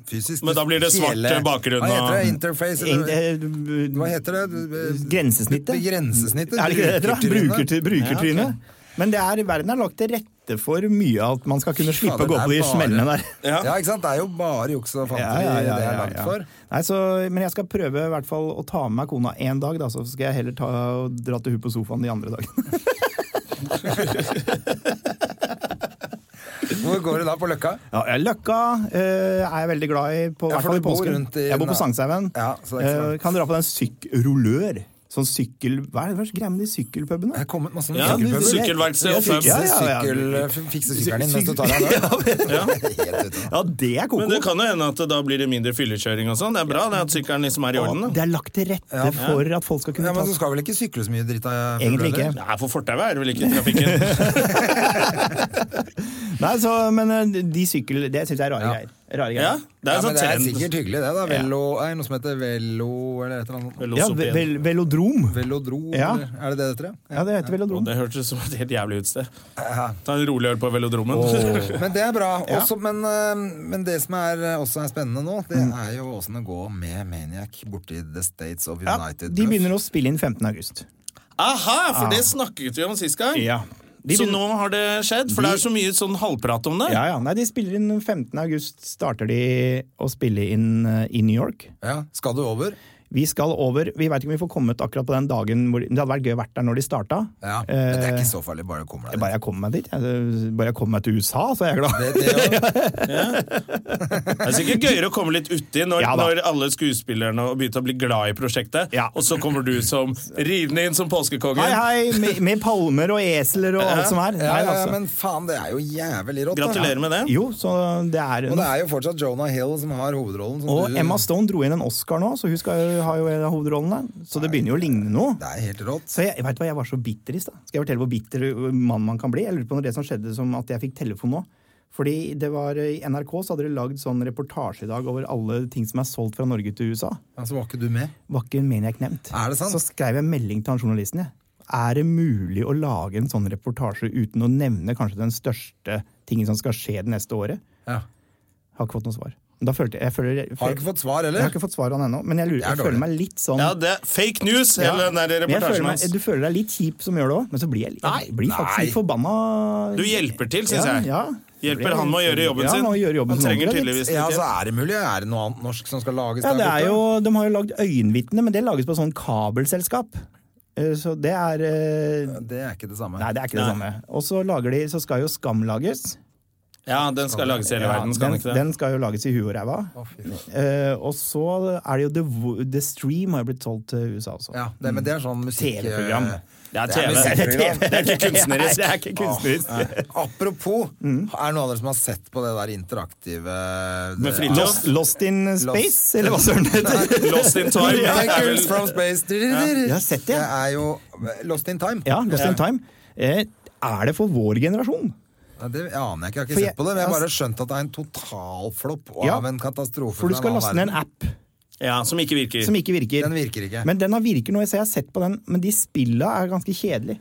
S2: fysisk.
S1: Men da blir det svart bakgrunn
S2: Hva heter det?
S1: og-
S2: Interface?
S3: Eng-
S2: Eller,
S3: eh, b-
S2: hva heter det?
S3: Grensesnittet?
S2: Grensesnittet?
S3: Er det ikke det det heter? da?
S2: brukertrynet.
S3: Brukertry- Brukertrynet. Men det er, verden er lagt til rette for mye at man skal kunne slippe
S2: Fader,
S3: å gå
S2: det er
S3: på de
S2: bare-
S3: smellene der.
S2: Ja. ikke sant? Det er jo bare juks og fanteri det er lagd for.
S3: Nei, så, men jeg skal prøve i hvert fall å ta med meg kona én dag, da, så skal jeg heller ta, og dra til hun på sofaen de andre dagene.
S2: Hvor går du da på Løkka?
S3: *laughs* Ja, jeg- Løkka eh, er jeg veldig glad i, på,
S2: Ja, for
S3: hvert fall i
S2: du bor
S3: påsken.
S2: rundt i-
S3: jeg bor på Sankshaugen.
S2: Ja, så det er ikke så
S3: Eh,
S2: langt.
S3: kan dra på den sykkelrullør. Sånn sykkel... Hva er det for greia med de sykkelpubene?
S2: Det er kommet masse
S1: Ja,
S2: sykkelpuber.
S1: Sykkelverksted og pub.
S3: Ja, ja, ja.
S2: Sykkel, fikse sykkelen din mens du tar deg en øl.
S1: *laughs*
S2: Helt ute.
S3: Ja, det er koko.
S1: Men det kan jo hende at da blir det mindre fyllekjøring og sånn. Det er bra det at sykkelen liksom er i orden.
S3: Å,
S1: da.
S3: det er lagt til rette for at folk skal
S2: *laughs*
S3: kunne
S2: Ja, men du
S3: ta
S2: skal vel ikke sykle så mye dritt av
S3: Egentlig ikke.
S1: Nei, for fortauet er det vel ikke i trafikken.
S3: Nei, så, men eh, de sykkel... Det syns jeg er
S2: *laughs*
S3: rare
S2: Ja.
S3: greier. Rare
S1: Ja,
S3: greier.
S1: det er
S2: ja, men
S1: sånn
S2: det er
S1: trend.
S2: sikkert hyggelig, det. da Velo, er det noe som heter Velo eller et eller annet?
S1: Vel,
S3: Ja,
S1: også opp
S3: ve
S1: igjen.
S3: vel velodrom.
S2: Velodro,
S3: Ja.
S2: eller er det det det heter? ja?
S3: Ja, det
S1: Og
S3: heter velodrom.
S1: det hørtes ut som et helt jævlig utsted. Ta en rolig øl på velodromen.
S2: Men det er bra. Også, men, eh, men det som er, eh, også er spennende nå, det
S3: Mm.
S2: er jo åssen det går med Maniac borti The States of
S3: Ja,
S2: United.
S3: de begynner å spille inn 15. august.
S1: *laughs* Aha,
S2: Ah.
S1: for det snakket vi om sist gang.
S3: De
S1: så
S3: begynner-
S1: nå har det skjedd? For det er så mye sånn halvprat om det.
S3: Ja, ja. Nei, de spiller inn 15. august starter de å spille inn eh, i New York.
S2: Ja, skal du over?
S3: Vi skal over. Vi veit ikke om vi får kommet akkurat på den dagen hvor Det hadde vært gøy å vært der når de starta.
S2: Ja, Men det er ikke så farlig, bare du kommer
S3: Eh,
S2: deg dit.
S3: bare jeg kommer meg dit. jeg- Bare jeg kommer meg til USA, så er jeg glad.
S2: Det, det, er jo-
S1: Det er sikkert gøyere å komme litt uti når,
S3: Ja da.
S1: når alle skuespillerne har begynt å bli glad i prosjektet,
S3: Ja.
S1: og så kommer du som rivende inn som påskekongen.
S3: Hei, hei! Med, med palmer og esler og alt som er.
S2: ja,
S3: Nei,
S2: ja,
S3: altså.
S2: men faen, det er jo jævlig rått. da.
S1: Gratulerer med det.
S3: Jo, så det er
S2: Og det er jo fortsatt Jonah Hill som har hovedrollen. Som
S3: Og
S2: du-
S3: Emma Stone dro inn en Oscar nå, så hun skal jo, har jo en av hovedrollene. Så det begynner jo å ligne noe.
S2: Det er helt rått.
S3: Så jeg, vet du hva, jeg var så bitter i stad. Skal jeg fortelle hvor bitter mann man kan bli? Jeg lurer på når det som skjedde som at jeg fikk telefon nå. Fordi det var eh, I NRK så hadde de lagd sånn reportasje i dag over alle ting som er solgt fra Norge til USA.
S2: Ja, så Altså, var ikke du med.
S3: Var ikke Maniac nevnt.
S2: Er det sant?
S3: Så skrev jeg en melding til han journalisten. Jeg. Er det mulig å lage en sånn reportasje uten å nevne kanskje den største tingen som skal skje det neste året? Har ikke fått noe svar. Da følte jeg, jeg føler,
S2: Har ikke fått svar,
S3: jeg har
S2: eller?
S3: ikke fått svar av han ennå, men jeg, lurer,
S2: Det er
S3: jeg føler
S2: dårlig.
S3: meg litt sånn
S1: Ja, det er fake news, hele den der
S3: Men jeg føler
S1: reportasjen
S3: meg,
S1: hans.
S3: du føler deg litt kjip som gjør det òg, men så blir jeg,
S2: Nei,
S3: jeg blir faktisk
S2: nei.
S3: litt forbanna.
S1: Du hjelper til, syns jeg.
S3: Ja, ja.
S1: Hjelper han med å gjøre jobben
S3: Ja,
S1: sin.
S3: han må gjøre jobben
S1: han
S3: sin
S1: trenger
S3: ordentlig,
S1: tydeligvis
S2: Ja, så
S1: ikke.
S2: er det mulig. Er det noe annet norsk som skal lages
S3: Ja, det er
S2: der
S3: jo,
S2: borte?
S3: De har jo lagd Øyenvitne, men det lages på sånn kabelselskap. Eh, Så det er eh,
S2: Det er ikke det samme.
S3: Nei, det er ikke det samme. Og så lager de, så skal jo Skam lages.
S1: Ja, den skal lages i hele verden, skal
S3: den,
S1: den ikke det?
S3: den *laughs* skal jo lages i huet og ræva. Eh, og så er det jo The, Vo- The Stream har jo blitt solgt til USA også.
S2: Ja, det, men det er sånn musikk...
S3: TV-program.
S1: eh, Det er
S2: Det er
S1: TV.
S2: musikk-
S1: Det er ikke kunstnerisk.
S3: Det er ikke kunstnerisk. Mm.
S2: Nei. Apropos, er det noen av dere som har sett på det der interaktive
S1: Med
S2: det-
S1: Fridtjof?
S3: Lost, Lost in Space,
S2: Lost-
S3: eller hva søren det
S2: *laughs*
S3: heter.
S1: Lost in
S3: *laughs*
S1: time.
S2: Ja,
S1: Det er
S2: Records
S1: vel-
S2: from space
S3: Jeg har sett det.
S2: Det er jo Lost in Time.
S3: Ja, Lost in Time. Eh, er det for vår generasjon?
S2: Ja, Det aner jeg ikke, jeg har
S3: For
S2: ikke
S3: jeg-
S2: sett på det. Men jeg har
S3: altså-
S2: bare skjønt at det er en totalflopp og
S3: Ja,
S2: av en katastrofe.
S3: For du
S2: fra en
S3: skal
S2: annen
S3: laste ned en
S2: verden.
S3: app
S1: Ja, som ikke virker.
S3: som ikke virker.
S2: Den virker ikke.
S3: Men den har virker nå, så jeg har sett på den. Men de spilla er ganske kjedelige.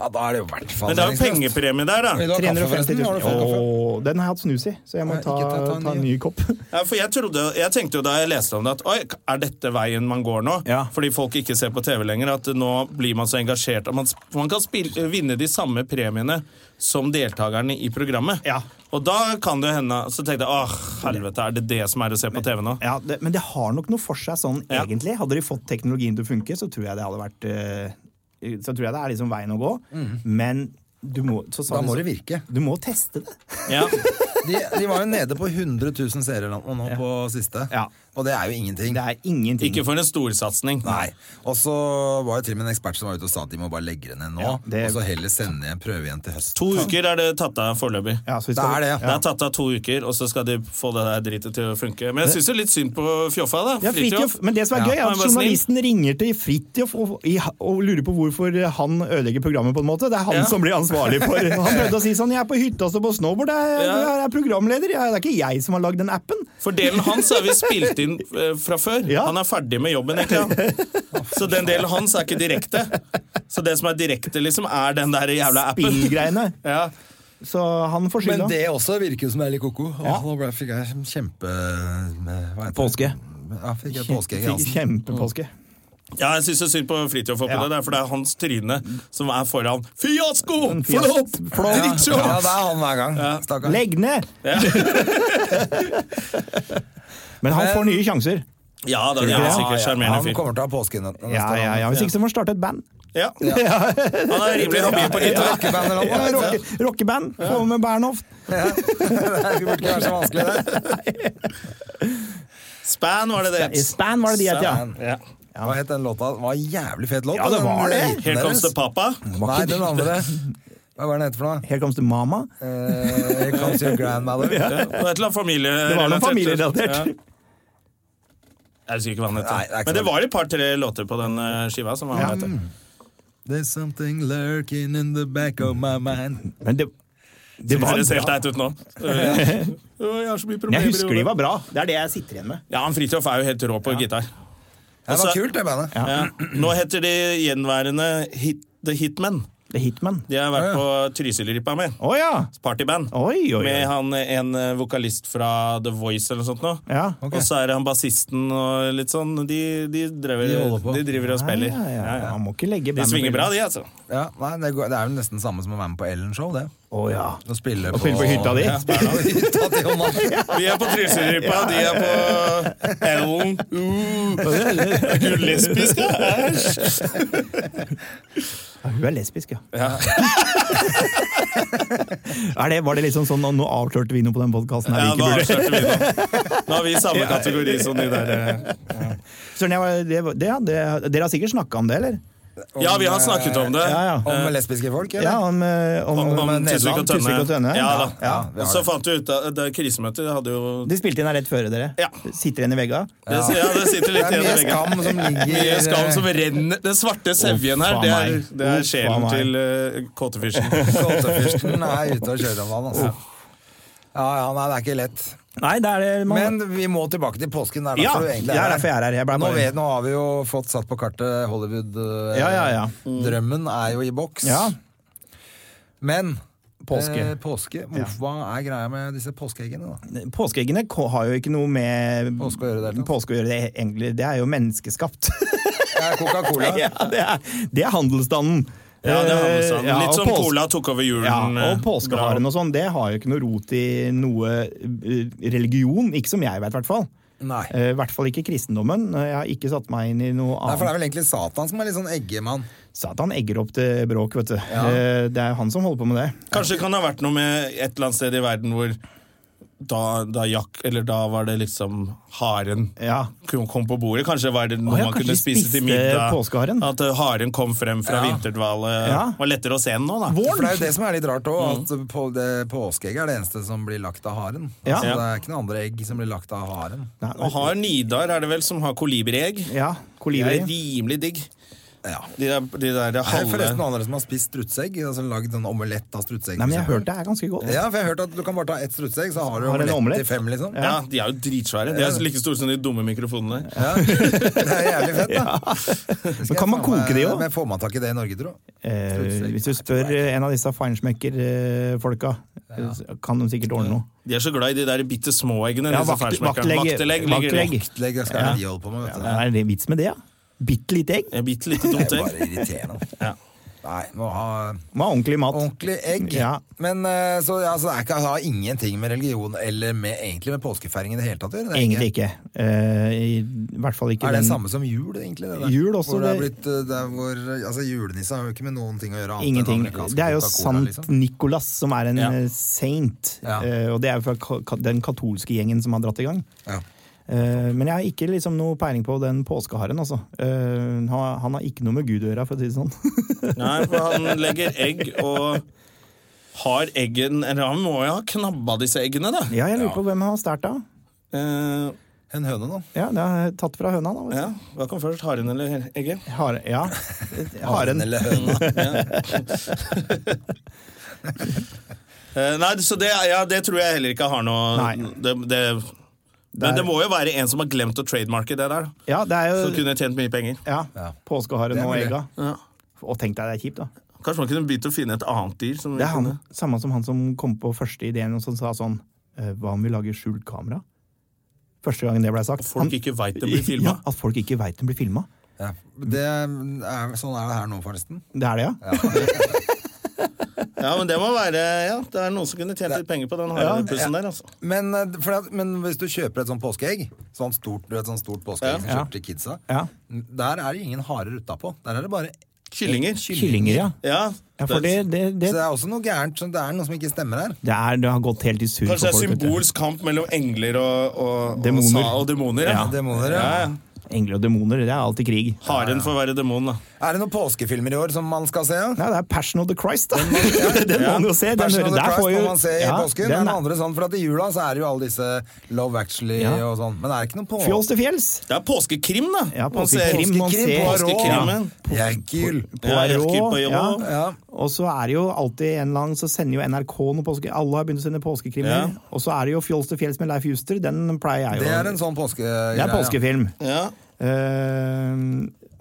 S2: Ja, da er det jo i hvert fall
S1: Men det er jo
S2: meningsløst.
S1: pengepremie der, da.
S2: Vil du ha kaffe,
S3: 350
S2: forresten? Har
S3: 000.
S2: du fått kaffe?
S3: Åh, den har jeg hatt snus i, så jeg må
S2: Nei,
S3: ta,
S2: ikke ta- ta
S3: ta,
S2: en
S3: en ny kopp. *laughs*
S1: Ja, for jeg, trodde, jeg tenkte jo da jeg leste om det at Oi, er dette veien man går nå?
S3: Ja.
S1: Fordi folk ikke ser på TV lenger. At nå blir man så engasjert at man, man kan spille, vinne de samme premiene som deltakerne i programmet.
S3: Ja.
S1: Og da kan det jo hende Så tenkte jeg åh, helvete, er det det som er å se på TV nå?
S3: Ja, det, men det har nok noe for seg sånn,
S1: Ja.
S3: egentlig. Hadde de fått teknologien til å funke, så tror jeg det hadde vært eh, Så tror jeg det er liksom veien å gå. Men du må så
S2: Mhm. Da
S3: sa de
S2: må
S3: så-
S2: det virke.
S3: Du må teste det.
S1: Ja.
S2: De, de var jo nede på 100 000 seere nå, nå på siste,
S3: Ja.
S2: og det er jo ingenting.
S3: Det er ingenting.
S1: Ikke for en storsatsing.
S2: Nei. Og så var jo til og med en ekspert som var ute og sa at de må bare legge det ned nå,
S3: Ja, det-
S2: og så heller sende igjen prøve igjen til høsten.
S1: To uker er det tatt av foreløpig.
S3: Ja, så vi
S2: Det
S3: skal-
S2: er det,
S1: Det er tatt av to uker, og så skal de få det der dritet til å funke. Men jeg syns jo litt synd på Fjoffa, da.
S3: Ja, Fridtjof. Men det som
S2: Ja,
S3: er gøy, er
S1: han
S3: at
S1: var snill.
S3: journalisten ringer til Fridtjof og, i- og lurer på hvorfor han ødelegger programmet. på en måte. Det er han
S1: Ja.
S3: som blir ansvarlig for Han prøvde å si sånn 'Jeg er på hytta og står på snowboard. Jeg,
S1: Ja.
S3: jeg er programleder. Jeg, det er ikke jeg som har lagd den appen'.
S1: For delen hans er vi spilt inn eh, fra før.
S3: Ja.
S1: Han er ferdig med jobben, egentlig. han. Så den delen hans er ikke direkte. Så det som er direkte, liksom, er den der jævla appen.
S3: Spillgreiene.
S1: Ja.
S3: Så han får
S2: Men
S3: skylda.
S2: det også virker jo som det er litt ko-ko. Åh, Nå ble- fikk jeg kjempe... Hva heter det?
S3: Påske.
S2: Ja, fikk jeg påske i halsen.
S3: Kjempepåske.
S1: ja, jeg syns synd på Fridtjof oppi
S3: Ja.
S1: det der, for det er hans tryne som er foran. Fiasko!
S3: fias-
S1: Flopp!
S3: flopp.
S1: Dritshow!
S2: Ja, det er han hver gang. Stakkar.
S3: Legg ned! *laughs* Men han får nye sjanser.
S1: Ja da, det er sikkert sjarmerende
S2: han
S1: fyr.
S2: kommer til å ha påskenøttene
S3: Ja, ja, ja. Hvis ikke så må han starte et band.
S1: Ja. *laughs* Han er rimelig habil på gitar.
S3: Ja,
S2: Ja,
S3: *laughs* rocke- Rockeband. Få med Bernhoft.
S2: *laughs* det burde ikke være så vanskelig, det.
S1: Span var det det.
S3: Span var det de het, ja.
S2: Span.
S1: Ja.
S2: Hva het den låta? Det var en jævlig fet låt.
S3: Ja, det
S2: den
S3: var det.
S2: hiten
S1: Here comes
S2: deres.
S1: the papa.
S2: Nei, den andre. Hva var den heter for noe?
S3: Here comes the mama.
S2: Eh, Here comes your grandmother.
S1: Ja, og Et eller annet familie...
S3: Det var noe familierelatert.
S1: Ja. Jeg husker ikke hva han
S2: Nei, det
S1: heter.
S2: er ikke
S1: Men det
S2: så
S1: var et par-tre låter på den eh, skiva. som var han heter.
S2: There's something lurking in the back of my mind.
S3: Men det, Det var
S1: høres helt
S3: bra.
S1: teit ut nå. Eh, «Å, Jeg har så mye
S3: Men
S1: problemer i
S3: jeg husker de
S1: hodet».
S3: var bra. Det er det jeg sitter igjen med.
S1: Ja, han Fridtjof er jo helt rå på gitar.
S2: Det var
S1: Altså-
S2: kult, det bandet.
S1: Ja. Nå heter de gjenværende hit, The Hitmen.
S3: The Hitman.
S1: De har vært
S2: Ja,
S1: på Trysilrippa med.
S3: Å ja!
S1: Partyband.
S3: Oi, oi,
S1: Med
S3: oi.
S1: han, en eh, vokalist fra The Voice eller noe sånt. Nå.
S3: Ja.
S2: Ok.
S1: Og så er det han bassisten og litt sånn. De, de, driver,
S2: De
S1: de,
S2: holder på.
S1: driver og spiller.
S3: Ja, ja, ja. Man må ikke
S1: De
S3: legge bandet
S1: svinger
S3: på
S1: bra,
S3: hylla.
S1: de, altså.
S2: Ja, nei, det, går, det er jo nesten samme som å være med på Ellen-show, det.
S3: Å ja.
S2: Å spille
S3: Å spille på hytta di.
S2: Ja, spille på hytta til Jonas.
S1: Vi er på Trysilrippa, de er på Ellen.
S3: *laughs*
S1: Uh, Gullesbisk, ja. Æsj.
S3: ja. Hun er lesbisk, ja.
S1: Ja.
S3: *laughs* Er det, var det liksom sånn Nå avslørte vi noe på den podkasten her
S1: Ja,
S3: vi
S1: nå
S3: ikke burde
S1: avslørte vi det. *laughs* Nå har vi samme kategori som de der. eh.
S3: Søren, jeg var, det, var- det, ja, det, Dere har sikkert snakka om det, eller?
S1: Ja, vi har snakket om det.
S3: Ja, ja.
S2: Om lesbiske folk, eller?
S3: Ja, om, eh, om,
S1: Om, om
S2: Nedland,
S1: Tusvik og Tønne.
S3: Tusvik og Tønne.
S1: Ja, da.
S2: Ja, vi har
S1: Så
S2: det.
S1: fant vi ut at det krisemøtet hadde jo
S3: De spilte inn her rett føre dere.
S1: Ja.
S3: Sitter igjen i vegga.
S1: Det, ja, det sitter
S2: Det
S1: litt
S2: er
S1: igjen i
S2: mye
S1: veggen.
S2: skam som ligger eh,
S1: Mye skam som renner Den svarte sevjen her,
S3: faen
S1: det er,
S3: meg.
S1: det er
S3: Uff, faen
S1: sjelen
S3: meg.
S1: til uh, kåtefyrsten.
S2: Kåtefyrsten er ute og kjører om dagen, altså. Ja, ja, nei, det er ikke lett.
S3: Nei, det er det man,
S2: Men vi må tilbake til påsken. Det er
S3: Ja,
S2: derfor du egentlig
S3: det er
S2: er
S3: derfor jeg er her. Jeg ble
S2: nå,
S3: bare-
S2: vet, nå har vi jo fått satt på kartet Hollywood. eh,
S3: Ja, ja, ja.
S2: Drømmen er jo i boks.
S3: Ja.
S2: Men
S3: Påske.
S2: Eh, påske. Hvor- Hva er greia med disse påskeeggene, da?
S3: Påskeeggene ko- har jo ikke noe med
S2: Påske å gjøre i det hele tatt.
S3: påske å gjøre, det, egentlig. Det er jo menneskeskapt.
S2: Det er Coca-Cola.
S3: *laughs* ja, det, er, det er handelsstanden.
S1: Ja, det er handelsstanden.
S3: Eh, ja,
S1: Litt
S3: og
S1: som
S3: pås-
S1: cola tok over julen.
S3: Ja, og
S1: eh,
S3: påskeharen
S1: bra.
S3: og sånn, det har jo ikke noe rot i noe eh, religion. Ikke som jeg vet, i hvert fall.
S2: Nei.
S3: Eh, I hvert fall ikke kristendommen. Eh, Jeg har ikke satt meg inn i noe
S2: Nei, for det
S3: annet.
S2: er vel egentlig Satan som er litt sånn eggemann.
S3: Satan egger opp til bråk, vet du.
S2: Ja.
S3: Eh, Det er jo han som holder på med det.
S1: Kanskje det kan ha vært noe med et eller annet sted i verden hvor da, da jakk Eller da var det liksom haren
S3: Ja.
S1: kom kom på bordet. Kanskje var det noe
S3: Å ja,
S1: man
S3: kanskje
S1: kunne spise til
S3: spiste
S1: middag.
S3: påskeharen.
S1: At eh, haren kom frem fra
S2: Ja.
S1: vinterdvale.
S3: Ja.
S1: Det var lettere å se den nå, da.
S2: For det er jo det som er litt rart òg, at på det påskeegget er det eneste som blir lagt av haren.
S3: Mm. Ja.
S2: Altså, det er ikke noen andre egg som blir lagt av haren.
S3: Nei,
S1: Og har Nidar, er det vel, som har kolibriegg.
S3: ja,
S1: De er
S3: kolibri.
S1: rimelig digg.
S2: Ja.
S1: De der, de der
S2: Det er forresten
S1: halve
S2: noen andre som har spist strutseegg. Altså lagd sånn omelett av strutseegg.
S3: Nei, men jeg har
S2: for
S3: hørt det er ganske godt.
S2: eksempel. Ja, for jeg har hørt at du kan bare ta ett strutseegg, så har du
S3: Har en
S2: omelett,
S3: omelett.
S2: til fem, liksom.
S1: ja, de er jo dritsvære. De er like store som de dumme mikrofonene.
S2: Ja. *laughs* Det er jævlig
S3: *laughs*
S2: fett, da.
S3: Men kan man koke de òg?
S2: Men får man tak i det i Norge, tro?
S3: Eh, hvis du spør eh, en av disse feinschmecker-folka, kan de sikkert ordne noe.
S1: De er så glad i de der bitte små eggene.
S3: Ja,
S1: disse
S3: vakt-
S1: fersmekkerne.
S3: vaktelegg-
S1: Vaktelegg ligger det.
S3: vaktelegg.
S2: Legger skal
S3: Ja.
S2: de holde på med, vet du.
S3: Ja, er det vits med det, ja? Bitte lite egg?
S1: Et bitte lite
S2: Det
S1: dumt
S2: er
S1: egg.
S3: *laughs*
S2: bare irriterende.
S1: Ja.
S2: Nei, må ha
S3: Må ha ordentlig mat.
S2: ordentlig egg.
S3: Ja.
S2: Men eh, så, ja, så det er ikke, har ingenting med religion eller med, egentlig med påskefeiring i det hele tatt å gjøre? det er
S3: Egentlig ikke. Eh, I hvert fall ikke
S2: Er det
S3: den
S2: samme som jul, egentlig? Det der?
S3: Jul også,
S2: Hvor det er
S3: det-
S2: blitt, eh, der hvor, altså, julenissen har jo ikke med noen ting å gjøre annet
S3: Ingenting.
S2: enn amerikansk
S3: Det er jo
S2: Coca-Cola,
S3: Sant
S2: liksom.
S3: Nikolas, som er en
S1: Ja.
S3: eh, saint.
S2: Ja.
S3: Eh, og det er jo fra ka- ka- den katolske gjengen som har dratt i gang.
S2: Ja.
S3: Eh, men jeg har ikke liksom noe peiling på den påskeharen, altså. Eh, han, har- han har ikke noe med Gud å gjøre, for å si det sånn.
S1: Nei, for han legger egg og har eggen Eller han må jo ha knabba disse eggene, da.
S3: *laughs* ja, jeg lurer på hvem han har stjålet av.
S1: Eh,
S2: En høne, da.
S3: Ja, det er tatt fra høna, da.
S1: ja. Hva kom først, haren eller egget?
S3: Hare, *laughs* ja.
S2: Haren
S3: Haren.
S2: eller høna.
S1: Eh, nei, så det, ja, det tror jeg heller ikke har noe
S3: Nei.
S1: Det, det, men det må jo være en som har glemt å trademarke det der, da.
S3: Ja, det er
S1: Som
S3: jo
S1: kunne tjent mye penger.
S3: ja,
S2: Ja.
S3: påskeharen
S2: Det er
S3: og
S2: mulig.
S3: egga.
S1: Ja.
S3: Og tenk deg, det er kjipt, da.
S1: Kanskje man kunne begynt å finne et annet dyr. Som vi
S3: Det er han,
S1: kunne-
S3: samme som han som kom på første ideen og som sa sånn «Eh, Hva om vi lager skjult kamera? Første gangen det ble sagt.
S1: Folk
S3: Han-
S1: ikke veit det blir filma.
S3: *laughs* Ja, at folk ikke veit den blir filma.
S2: Ja. Det er, sånn er det her nå, forresten.
S3: Det er det, ja?
S1: Ja, men det må være Ja, det er noen som kunne tjent litt penger på den harepussen der, altså.
S2: Men, eh, for at, men hvis du kjøper et sånt påskeegg, sånn stort, du vet, sånn stort påskeegg som
S3: Ja.
S2: kjøper til kidsa,
S3: Ja.
S2: der er det ingen harer utapå. Der er det bare
S1: Kyllinger.
S3: Kyllinger, ja.
S1: Ja,
S3: ja for det, det, det,
S2: Så det er også noe gærent. Så det er noe som ikke stemmer her.
S3: det, er, det har gått helt i surr for
S1: Kanskje det
S3: folk.
S1: er
S3: vet du.
S1: symbolsk kamp mellom engler og, og, og,
S3: Demoner.
S1: sa- og demoner. Ja.
S2: Ja, demoner, ja.
S3: Engler og demoner, det er alltid krig.
S1: Haren får være demon, da.
S2: Er det noen påskefilmer i år som man skal se? Ja?
S3: Nei, det er Passion of the Christ, da! *laughs* Den må man jo se! Den
S2: Passion
S3: hører-
S2: of the
S3: der
S2: Christ
S3: får jo-
S2: må man se i
S3: Ja,
S2: påsken.
S3: den
S2: Men
S3: er-
S2: andre sånn, for at i jula så er det jo alle disse Love Actually
S3: Ja.
S2: og sånn. Men er det ikke noen på...
S3: Fjols til fjells!
S1: Det er påskekrim, da!
S3: Ja,
S1: Man ser-
S3: påskekrim, man
S2: påskekrim,
S3: ser
S2: Poirot.
S1: Påskekrimmen.
S2: Jekkyl.
S1: Ja, jeg skriver
S3: Poirot,
S1: på jobb
S3: ja.
S1: også.
S2: Ja.
S3: Og så er det jo alltid en eller annen, så sender jo NRK noen påske... Alle har begynt å sende
S1: Ja.
S3: påskekrimmer. Og så er det jo Fjols til fjells med Leif Juster. Den pleier jeg jo.
S2: Det er en sånn påske...
S3: det er påskefilm.
S1: Ja.
S3: Eh,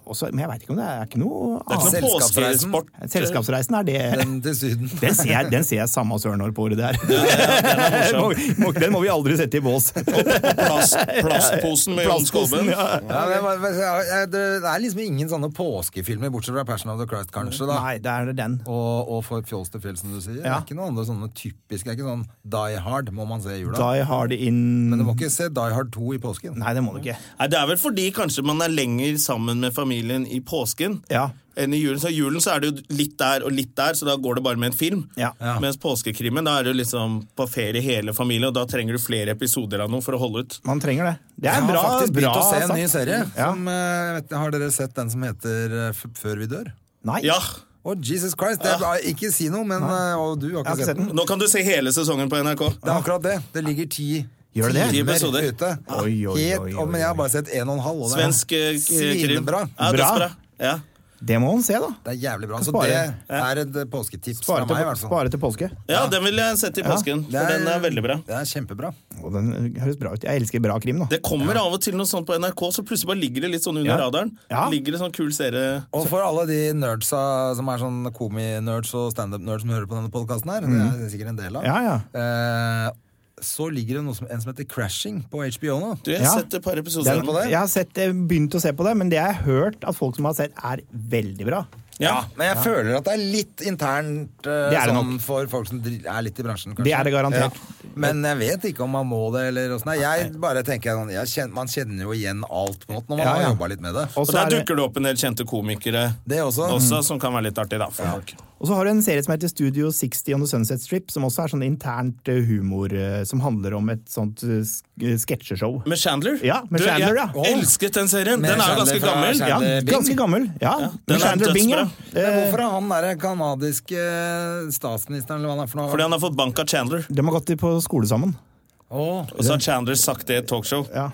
S3: også, men jeg veit ikke om det er, er ikke noe
S1: Det er ikke
S3: annet. Eh,
S1: noe
S2: Selskapsreisen.
S1: påskesport.
S3: Selskapsreisen er det.
S2: Den til Syden.
S3: *laughs* Den ser jeg, den ser jeg samme søren når på året det er.
S1: er morsom.
S3: *laughs* Må- må- den må vi aldri sette i bås.
S1: Plast, plastposen med Jon Skåben.
S3: Plastposen, ja.
S2: Ja, men, jeg- jeg- jeg- det er liksom ingen sånne påskefilmer, bortsett fra Passion of the Christ, kanskje. da.
S3: Nei, det er den.
S2: Og, og for Fjols til fjells, som du sier. Det
S3: Ja.
S2: er ikke noe andre sånne typiske. Det er ikke sånn Die Hard må man se i jula.
S3: Die Hard in
S2: Men du må ikke se Die Hard 2 i påsken.
S3: Nei, det må du ikke.
S1: Nei, Det er vel fordi kanskje man er lenger sammen med familien i påsken
S3: Ja.
S1: enn i julen. Så i julen så er det jo litt der og litt der, så da går det bare med en film.
S3: Ja.
S2: Ja.
S1: Mens påskekrimmen, da er du liksom på ferie hele familien, og da trenger du flere episoder av noe for å holde ut.
S3: Man trenger det. Det
S2: Jeg
S3: er
S2: har
S3: bra.
S2: faktisk begynt
S3: bra
S2: å se en
S3: sagt.
S2: ny serie.
S3: Ja.
S2: Som, eh, vet, har dere sett den som heter eh, F Før vi dør?
S3: Nei.
S1: Ja,
S2: Å, Jesus Christ! Det er, bra. Ikke si noe, men eh, Og du har ikke,
S3: Ah. Jeg har ikke
S2: sett
S3: sett
S2: den.
S3: den.
S1: nå kan du se hele sesongen på NRK.
S2: Det er akkurat det. Det ligger ti
S3: Gjør det det?
S1: Ti
S2: timer
S1: episoder.
S2: ute.
S3: Oi, oi,
S2: Helt-
S3: oi,
S2: og- Men
S3: oi,
S2: jeg har
S3: oi.
S2: bare sett en og en halv. Og det er
S1: Svensk eh, k- krim.
S2: Svinebra.
S1: Ja,
S3: Bra.
S1: dødsbra. Ja.
S3: Det må man se, da.
S2: Det er jævlig bra. Så
S3: Spare.
S2: det er et eh, påsketips fra
S3: Spare
S2: meg, i
S3: til,
S2: hvert fall.
S3: spare til påske.
S1: ja, den vil jeg sette i påsken,
S2: Det
S1: for den er veldig bra.
S2: Det er kjempebra.
S3: Og den høres bra ut. Jeg elsker bra krim, da.
S1: Det kommer av og til noe sånt på NRK, så plutselig bare ligger det litt sånn under
S3: Ja.
S1: radaren.
S3: Ja.
S1: Ligger det sånn kul serie
S2: Og for alle de nerdsa som er sånn komi-nerds og standup-nerds som hører på denne podkasten her, det er jeg sikkert en del av,
S3: Mm. Ja, ja.
S2: eh, så ligger det noe som, en som heter Crashing på HBO nå.
S1: Du, jeg har
S3: Ja.
S1: sett et par episoder.
S3: Den,
S2: på det?
S3: jeg har sett, eh, begynt å se på det, men det jeg har hørt at folk som har sett, er veldig bra.
S1: Ja.
S2: Men jeg føler at det er litt internt eh,
S3: Det er det
S2: sånn for folk som dri- er litt i bransjen, kanskje.
S3: Det er det garantert.
S2: Ja. Men jeg vet ikke om man må det, eller åssen. Nei, Jeg bare tenker sånn jeg kjen- Man kjenner jo igjen alt på en måte når man
S3: Ja, ja.
S2: har jobba litt med det.
S1: Og der dukker det opp en del kjente komikere
S2: Det også.
S3: Mm.
S1: også, som kan være litt artig, da. For folk.
S3: Og så har du en serie som heter Studio 60 on the Sunset Strip, som også er sånn internt eh, humor, eh, som handler om et sånt eh, sk- eh, sketsjeshow.
S1: Med Chandler.
S3: Ja, med Chandler,
S1: jeg
S3: ja. Åh.
S1: elsket den serien.
S2: Med
S1: Den er jo
S2: Chandler
S1: ganske
S2: fra
S1: gammel.
S2: Chandler.
S3: Ja,
S2: Chandler Bing.
S3: ganske gammel. Ja,
S1: den er
S3: Chandler Bing, ja.
S1: dødsbra.
S2: Men
S3: Eh,
S2: hvorfor har han derre kanadiske eh, statsministeren, eller hva han er for noe?
S1: Fordi han har fått bank av Chandler.
S3: De har gått i- på skole sammen.
S2: Åh.
S1: Og så har Chandler sagt det i et talkshow
S3: Ja.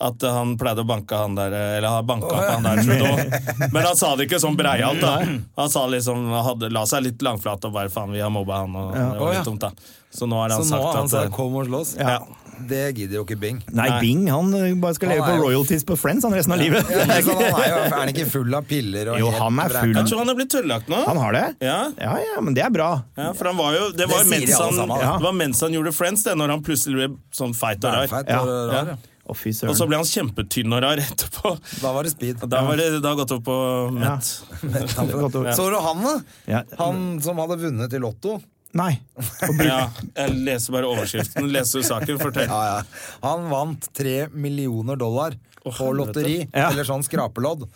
S1: at eh, han pleide å banke han der eh, Eller har banka opp han der
S2: *laughs*
S1: Trudeau. Men han sa det ikke sånn breialt. da Han sa liksom, han hadde, la seg litt langflat og bare faen, vi har mobba han. Og, det
S2: Å,
S1: var
S2: ja.
S1: litt dumt, da. Så nå har
S2: Så
S1: han
S2: nå
S1: sagt
S2: har han
S1: at
S2: sagt
S1: eh,
S2: 'kom og slåss'?
S1: ja.
S2: Det gidder jo ikke Bing.
S3: Nei,
S1: Nei.
S3: Bing han eh, bare skal
S2: Han
S3: leve
S2: er
S3: på
S2: jo-
S3: royalties på Friends han resten av livet.
S2: Ja, men sånn, han er, jo, er han ikke full av piller? Og
S3: Jo,
S2: helt
S3: han er
S2: vræka?
S3: full.
S1: Jeg tror han er blitt tullelagt nå.
S3: *laughs* Han har det?
S1: Ja.
S3: ja, ja, men det er bra.
S1: Ja, for han var jo, det var
S2: Det
S1: jo
S2: sier de
S1: mens,
S2: alle
S1: han,
S2: sammen,
S3: da.
S1: det var mens han gjorde Friends, det, når han plutselig ble sånn feit og rar.
S2: Feit
S3: Ja.
S2: og rar, ja.
S3: Å, fy
S1: Og så
S3: søren.
S1: ble han kjempetynn og rar *laughs* etterpå.
S2: Da var det speed.
S1: Da var det da gått opp på mett.
S3: Godt ord.
S2: Så du han, da?
S3: Ja.
S2: Han som hadde vunnet i Lotto. *laughs*
S3: Nei.
S1: Ja, jeg leser bare overskriften. Leser du saken? Fortell.
S2: Ja, ja. Han vant tre millioner dollar på
S1: helvete.
S2: lotteri,
S3: Ja.
S2: eller sånn skrapelodd,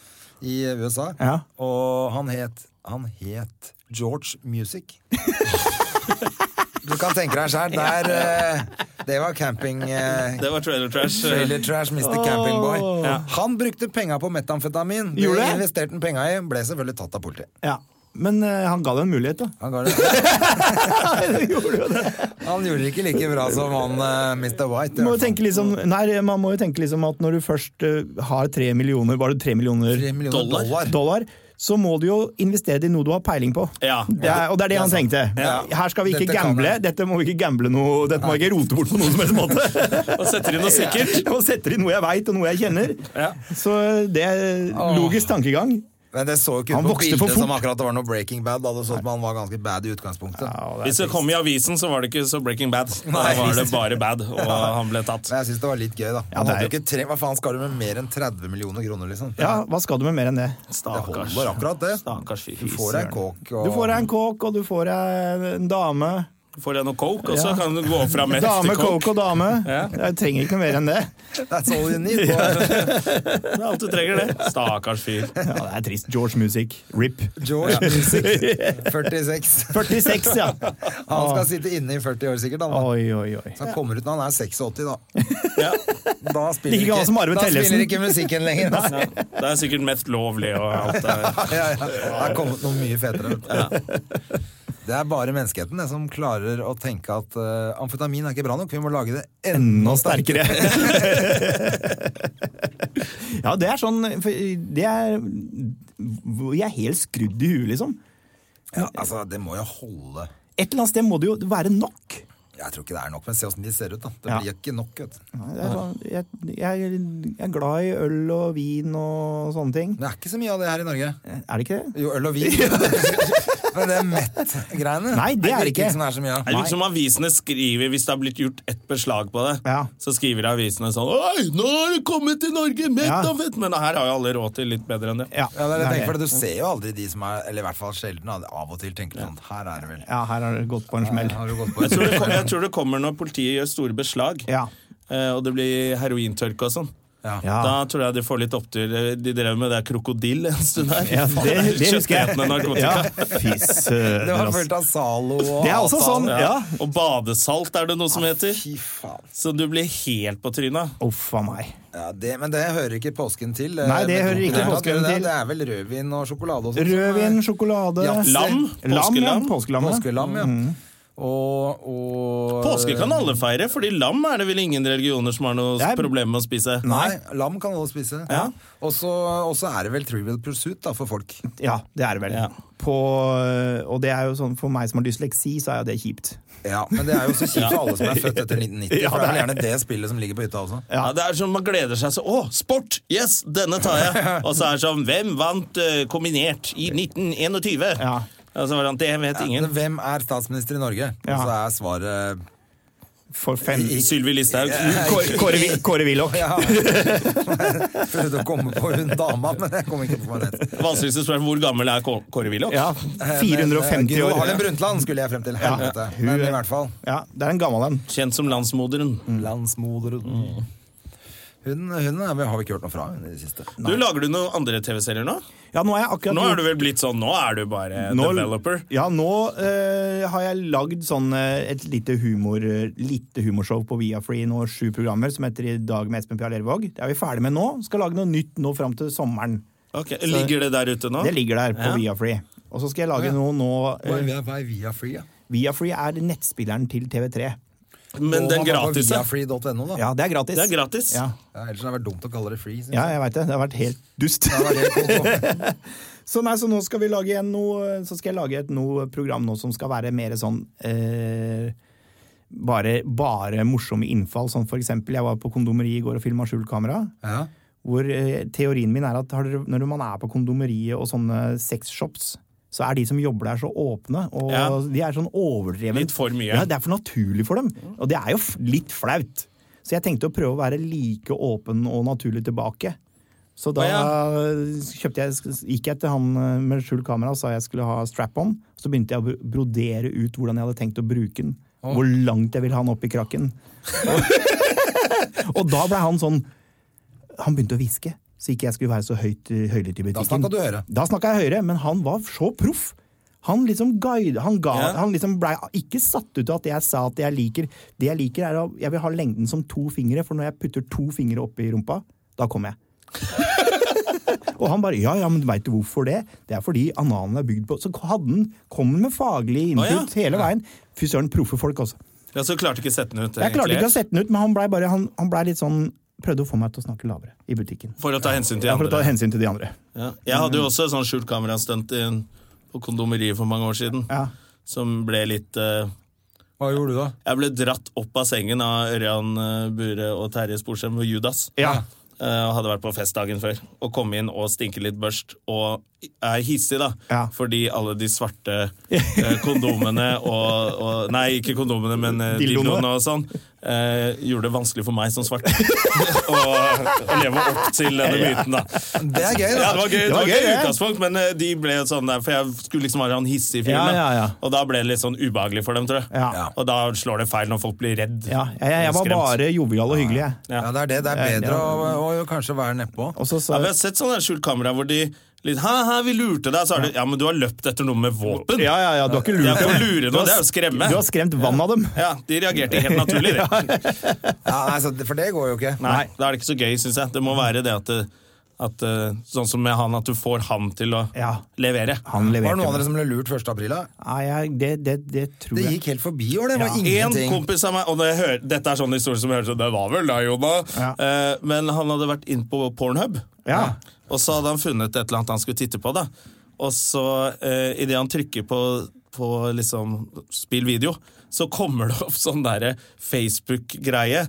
S2: i USA.
S3: Ja.
S2: Og han het, han het George
S3: *laughs*
S2: Music. Du kan tenke deg sjøl. Der eh, Det var camping... eh,
S1: Det var trailer trash.
S2: Trailer trash, Mr. Camping Boy. Han brukte penga på metamfetamin. Det
S3: Gjorde det?
S2: investerte han penga i. Ble selvfølgelig tatt av politiet.
S3: Ja. Men eh, han ga det en mulighet,
S2: *laughs*
S3: da.
S2: Han, ga det.
S3: Han gjorde jo det.
S2: han gjorde det ikke like bra som han eh, Mr. White. i
S3: Man må, jo
S2: hvert fall.
S3: tenke liksom, nei, man må jo tenke liksom at når du først eh, har tre millioner Var det tre millioner
S2: Tre millioner
S1: Dollar?
S2: dollar.
S3: dollar, så må du jo investere det i noe du har peiling på.
S1: Ja.
S3: Det er, og det er det han tenkte. Her skal vi ikke
S2: Dette kan
S3: gamble.
S2: jeg.
S3: Dette må vi ikke gamble noe Dette må jeg ikke rote bort på noen som helst
S2: *laughs*
S3: måte.
S1: Og setter inn noe sikkert.
S3: Og setter inn noe jeg veit, og noe jeg kjenner.
S1: Ja.
S3: Så det er logisk tankegang.
S2: Men det så jo ikke ut
S3: Han
S2: på
S3: vokste for
S2: bildet
S3: fort.
S2: som akkurat det var noe Breaking Bad. Da det så ut som han var ganske bad i utgangspunktet.
S1: Hvis det kom i avisen, så var det ikke så Breaking
S3: *laughs*
S1: Bad. Da
S2: Nei.
S1: var det bare bad, og han ble tatt.
S2: Men jeg syns det var litt gøy, da. Han
S3: det
S2: hadde jo
S3: er-
S2: ikke tre... Hva faen skal du med mer enn 30 millioner kroner, liksom?
S3: Ja, hva skal du med mer enn det?
S2: Det
S1: Stakkars.
S2: holder akkurat, det.
S1: Stakkars fyr.
S2: Du får deg en kåk og
S3: Du får deg en kåk, og du får deg en dame.
S1: Får jeg noe coke, og så
S3: Ja.
S1: kan du gå fra mett
S3: Dame,
S1: til coke.
S3: coke og dame.
S1: Ja.
S3: Jeg trenger ikke noe mer enn det.
S2: That's all you
S3: *laughs*
S2: need. Og
S1: Det er alt du trenger, det. Stakkars fyr.
S3: Ja, det er trist. George Music.
S1: *laughs*
S3: RIP.
S2: George
S3: *laughs*
S2: Music, 46.
S3: 46, ja.
S2: Han skal sitte inne i 40 år sikkert. Han, da.
S3: Oi, oi, oi.
S2: Så han kommer ut når han er 86, da.
S1: Ja.
S2: Da
S3: *laughs*
S2: spiller,
S3: Like gammel som Arve
S2: da
S3: Tellefsen.
S2: spiller ikke musikken lenger.
S3: *laughs*
S2: Altså.
S1: Ja. Det er sikkert mest lovlig og alt det der.
S2: Ja, ja. Det er kommet noe mye fetere. Det er bare menneskeheten det, som klarer å tenke at eh, amfetamin er ikke bra nok. Vi må lage det enda
S3: Enda sterkere. *laughs* ja, det er sånn for Det er Jeg er helt skrudd i huet, liksom.
S2: Ja, altså, det må jo holde.
S3: Et eller annet sted må det jo være nok.
S2: Jeg tror ikke det er nok, men se åssen de ser ut, da. Det
S3: Ja.
S2: blir ikke nok, vet du.
S3: Det er sånn, jeg, jeg, jeg er glad i øl og vin og sånne ting.
S2: Det er ikke så mye av det her i Norge.
S3: Er det ikke det?
S2: Jo, øl og
S3: *laughs*
S2: vin. men det mett-greiene
S3: Nei, det er det
S2: virker
S3: ikke.
S2: som det er sånn så mye
S1: Det
S2: av.
S1: er litt som avisene skriver hvis det har blitt gjort ett beslag på det.
S3: Ja.
S1: Så skriver avisene sånn Oi, nå har det kommet til Norge!
S3: Ja.
S1: Metafett! Men her har jo alle råd til litt bedre enn det.
S2: Ja, det er det jeg tenker, for Du ser jo aldri de som er Eller i hvert fall sjelden. da. Av og til tenker du sånn Her er det vel.
S3: Ja, her har det gått på en smell.
S2: Her har du gått på
S1: Jeg tror, det kom, jeg tror det kommer når politiet gjør store beslag,
S3: Ja.
S1: eh, og det blir herointørke og sånn.
S2: Ja.
S3: Ja.
S1: Da tror jeg de får litt opptur. De drev med det krokodille en stund her.
S2: *laughs*
S3: Ja, det, det husker jeg.
S1: Kjøttetende narkotika.
S3: Ja, fy søren.
S2: *laughs* Det var
S3: altså.
S2: fullt av Zalo og
S3: Det er også
S2: Asan.
S3: sånn,
S1: Ja.
S3: ja. Ah,
S1: Og badesalt er det noe som heter.
S2: Fy faen.
S1: Så du blir helt på trynet.
S3: Uff a meg.
S2: Ja, det, men det hører ikke påsken til. eh,
S3: Nei, det
S2: med
S3: hører ikke
S2: konkurrenter. Det
S3: påsken
S2: er-
S3: til.
S2: Det er vel rødvin og sjokolade og sånn sånt.
S3: Rødvin, sjokolade
S2: Ja,
S1: Lam.
S3: Lam, ja.
S1: Påskelam.
S3: Påskelam. ja.
S2: Påskelam, ja.
S3: Mm.
S2: Og, og
S1: Påske kan alle feire, fordi lam er det vel ingen religioner som har noe
S3: Det er-
S1: problem med å spise.
S2: Nei, lam kan alle spise. Ja. Og så og så er det vel Trivial Pursuit da, for folk.
S3: Ja, det er det vel.
S1: Ja.
S3: På, og det er jo sånn, for meg som har dysleksi, så er jo det kjipt.
S2: Ja, Men det er jo så kjipt for alle som er født etter *laughs* 1990.
S3: Ja,
S2: for det er
S3: det
S2: gjerne det spillet som ligger på hytta også.
S1: Ja. det er sånn Man gleder seg så Å, sport! Yes, denne tar jeg!
S3: *laughs*
S1: Og så er det sånn Hvem vant eh, kombinert i 1921?
S3: Ja.
S1: Og så var det sånn, Det vet ingen.
S2: Men Hvem er statsminister i Norge?
S3: Ja.
S2: Og så er *laughs* svaret
S3: For fem
S1: Sylvi Listhaug.
S3: Kåre- Kåre Vi- Kåre Willoch.
S2: Ja. *laughs* Prøvde å komme på hun dama, men jeg kom ikke på hva hun het.
S1: Vanskeligste spørsmål hvor gammel er Kå- Kåre Willoch?
S3: Ja, 450
S2: Eh, Gro Harlem
S3: år.
S2: Brundtland skulle jeg frem til. Helvete.
S3: Hun-
S2: Men i hvert fall.
S3: Ja, det er en gammel en.
S1: Kjent som landsmoderen.
S2: Landsmoderen. Mm. Hun, hun er, har vi ikke hørt noe fra hun i det siste.
S1: Du, Lager du noen andre TV-serier nå?
S3: Ja, nå er jeg akkurat
S1: Nå er du vel blitt sånn Nå er du bare
S3: Nå-
S1: developer.
S3: Ja, nå eh, har jeg lagd sånn eh, et lite, humor, eh, lite humorshow på Viafree nå, sju programmer, som heter I dag med Espen Pia Lervåg. Det er vi ferdig med nå. Skal lage noe nytt nå fram til sommeren.
S1: Ok, Ligger det der ute nå?
S3: Det ligger der på
S1: Ja.
S3: Viafree. Og så skal jeg lage noe nå
S2: Hva
S3: eh,
S2: er, hva er Viafree? Ja?
S3: Viafree er nettspilleren til TV3.
S1: Men den gratis,
S2: ja.
S1: ja.
S2: Viafree.no, da. Ja.
S3: Ja, det er gratis.
S1: Ah, Det er gratis.
S3: Ja,
S2: ellers hadde det vært dumt å kalle det free. synes
S3: ja
S2: jeg.
S3: jeg veit det. Det har vært helt dust.
S2: Det var *laughs* helt koko.
S3: Så, nei, så nå skal vi lage igjen noe Så skal jeg lage et noe program nå som skal være mer sånn eh, bare, bare morsomme innfall. Sånn for eksempel, jeg var på kondomeriet i går og filma skjult kamera.
S2: ja.
S3: Hvor eh, teorien min er at har dere, når man er på kondomeriet og sånne sexshops, så er de som jobber der så åpne, og
S1: Ja.
S3: de er sånn overdrevet.
S1: Litt for mye.
S3: Ja, det er for naturlig for dem. Og det er jo f- litt flaut. Så jeg tenkte å prøve å være like åpen og naturlig tilbake. Så
S1: Å,
S3: da
S1: ja.
S3: kjøpte jeg, gikk jeg til han eh, med skjult kamera og sa jeg skulle ha strap-on. Så begynte jeg å bro- brodere ut hvordan jeg hadde tenkt å bruke den. Hvor langt jeg ville ha den opp i krakken. Og, og da ble han sånn Han begynte å hviske. Så ikke jeg skulle være så høyt, høylytt i butikken.
S2: snakket du høyere.
S3: Da snakka jeg høyere, men han var så proff. Han liksom guide, han, ga,
S1: Ja.
S3: han liksom blei ikke satt ut av at jeg sa at jeg liker Det jeg liker, er å Jeg vil ha lengden som to fingre, for når jeg putter to fingre oppi rumpa, da kommer jeg. *laughs* Og han bare Ja, ja, men veit du hvorfor det? Det er fordi analen er bygd på Så hadde han, kom han med faglig input
S1: Å, ja.
S3: hele veien. Fy søren, proffe folk, altså.
S1: Ja, så klarte ikke sette den ut.
S3: Jeg klarte
S1: egentlig.
S3: ikke å sette den ut, men han blei bare han, han ble litt sånn Prøvde å få meg til å snakke lavere i butikken.
S1: For å ta hensyn til
S3: Ja, for å ta Mm.
S1: andre.
S3: hensyn til de andre.
S1: Ja. Jeg hadde jo også et sånt skjult kamerastunt i en- på kondomeriet for mange år siden.
S3: Ja.
S1: Som ble litt eh,
S2: Hva gjorde du da?
S1: Jeg ble dratt opp av sengen av Ørjan eh, Bure og Terje Sporsem og Judas.
S3: Ja.
S1: Eh, og hadde vært på fest dagen før. Og kom inn og stinker litt børst. Og er hissig, da.
S3: Ja.
S1: Fordi alle de svarte eh, kondomene og, og Nei, ikke kondomene, men eh,
S3: Dildoene.
S1: dildoene og sånn. eh, gjorde det vanskelig for meg som svart *laughs* å å leve opp til denne myten, da.
S2: Det er gøy, da.
S1: Ja, det var gøy, det
S3: var
S1: var gøy,
S3: gøy,
S1: i
S3: det.
S1: utgangspunkt, men eh, de ble sånn der, for jeg skulle liksom være han hissig fyren.
S3: Ja,
S1: da.
S3: ja, ja.
S1: Og da ble det litt sånn ubehagelig for dem, tror jeg.
S3: Ja.
S2: Ja.
S1: Og da slår det feil når folk blir redd.
S3: Ja, jeg, jeg, jeg var
S1: Skremt.
S3: bare jovial og hyggelig, jeg.
S2: Ja, det er det. Det er bedre å, å kanskje være nedpå.
S3: Og så
S1: Ja,
S3: sa
S1: vi har sett sånne der skjult kamera hvor de litt Hæ, hæ, vi lurte deg, så er det Ja, men du har løpt etter noe med våpen.
S3: Ja, ja, ja, du har ikke
S1: Det er
S3: lurt
S1: ikke å
S3: dem.
S1: lure noe, det er å skremme.
S3: Du har skremt vann av dem.
S1: Ja, de reagerte helt naturlig,
S3: *laughs*
S1: de.
S2: Ja, nei, så, for det går jo ikke.
S1: Nei, da er det ikke så gøy, syns jeg. Det må være det at, det- at eh, Sånn som med han, at du får han til å
S3: Ja.
S1: levere.
S2: Var
S3: Han
S2: det
S3: leverte.
S2: noen av
S3: meg.
S2: dere som ble lurt 1. april? da?
S3: Nei, jeg, det, det, det tror
S2: Det
S3: jeg.
S2: gikk helt forbi i år, det var
S1: En
S2: ingenting.
S1: kompis av meg, og det hører, dette er sånn historie som høres ut Det var vel deg, Jonna.
S3: Ja.
S1: Eh, men han hadde vært inn på Pornhub,
S3: Ja.
S1: og så hadde han funnet et eller annet han skulle titte på. da Og så, eh, idet han trykker på, på liksom spill video, så kommer det opp sånn derre Facebook-greie.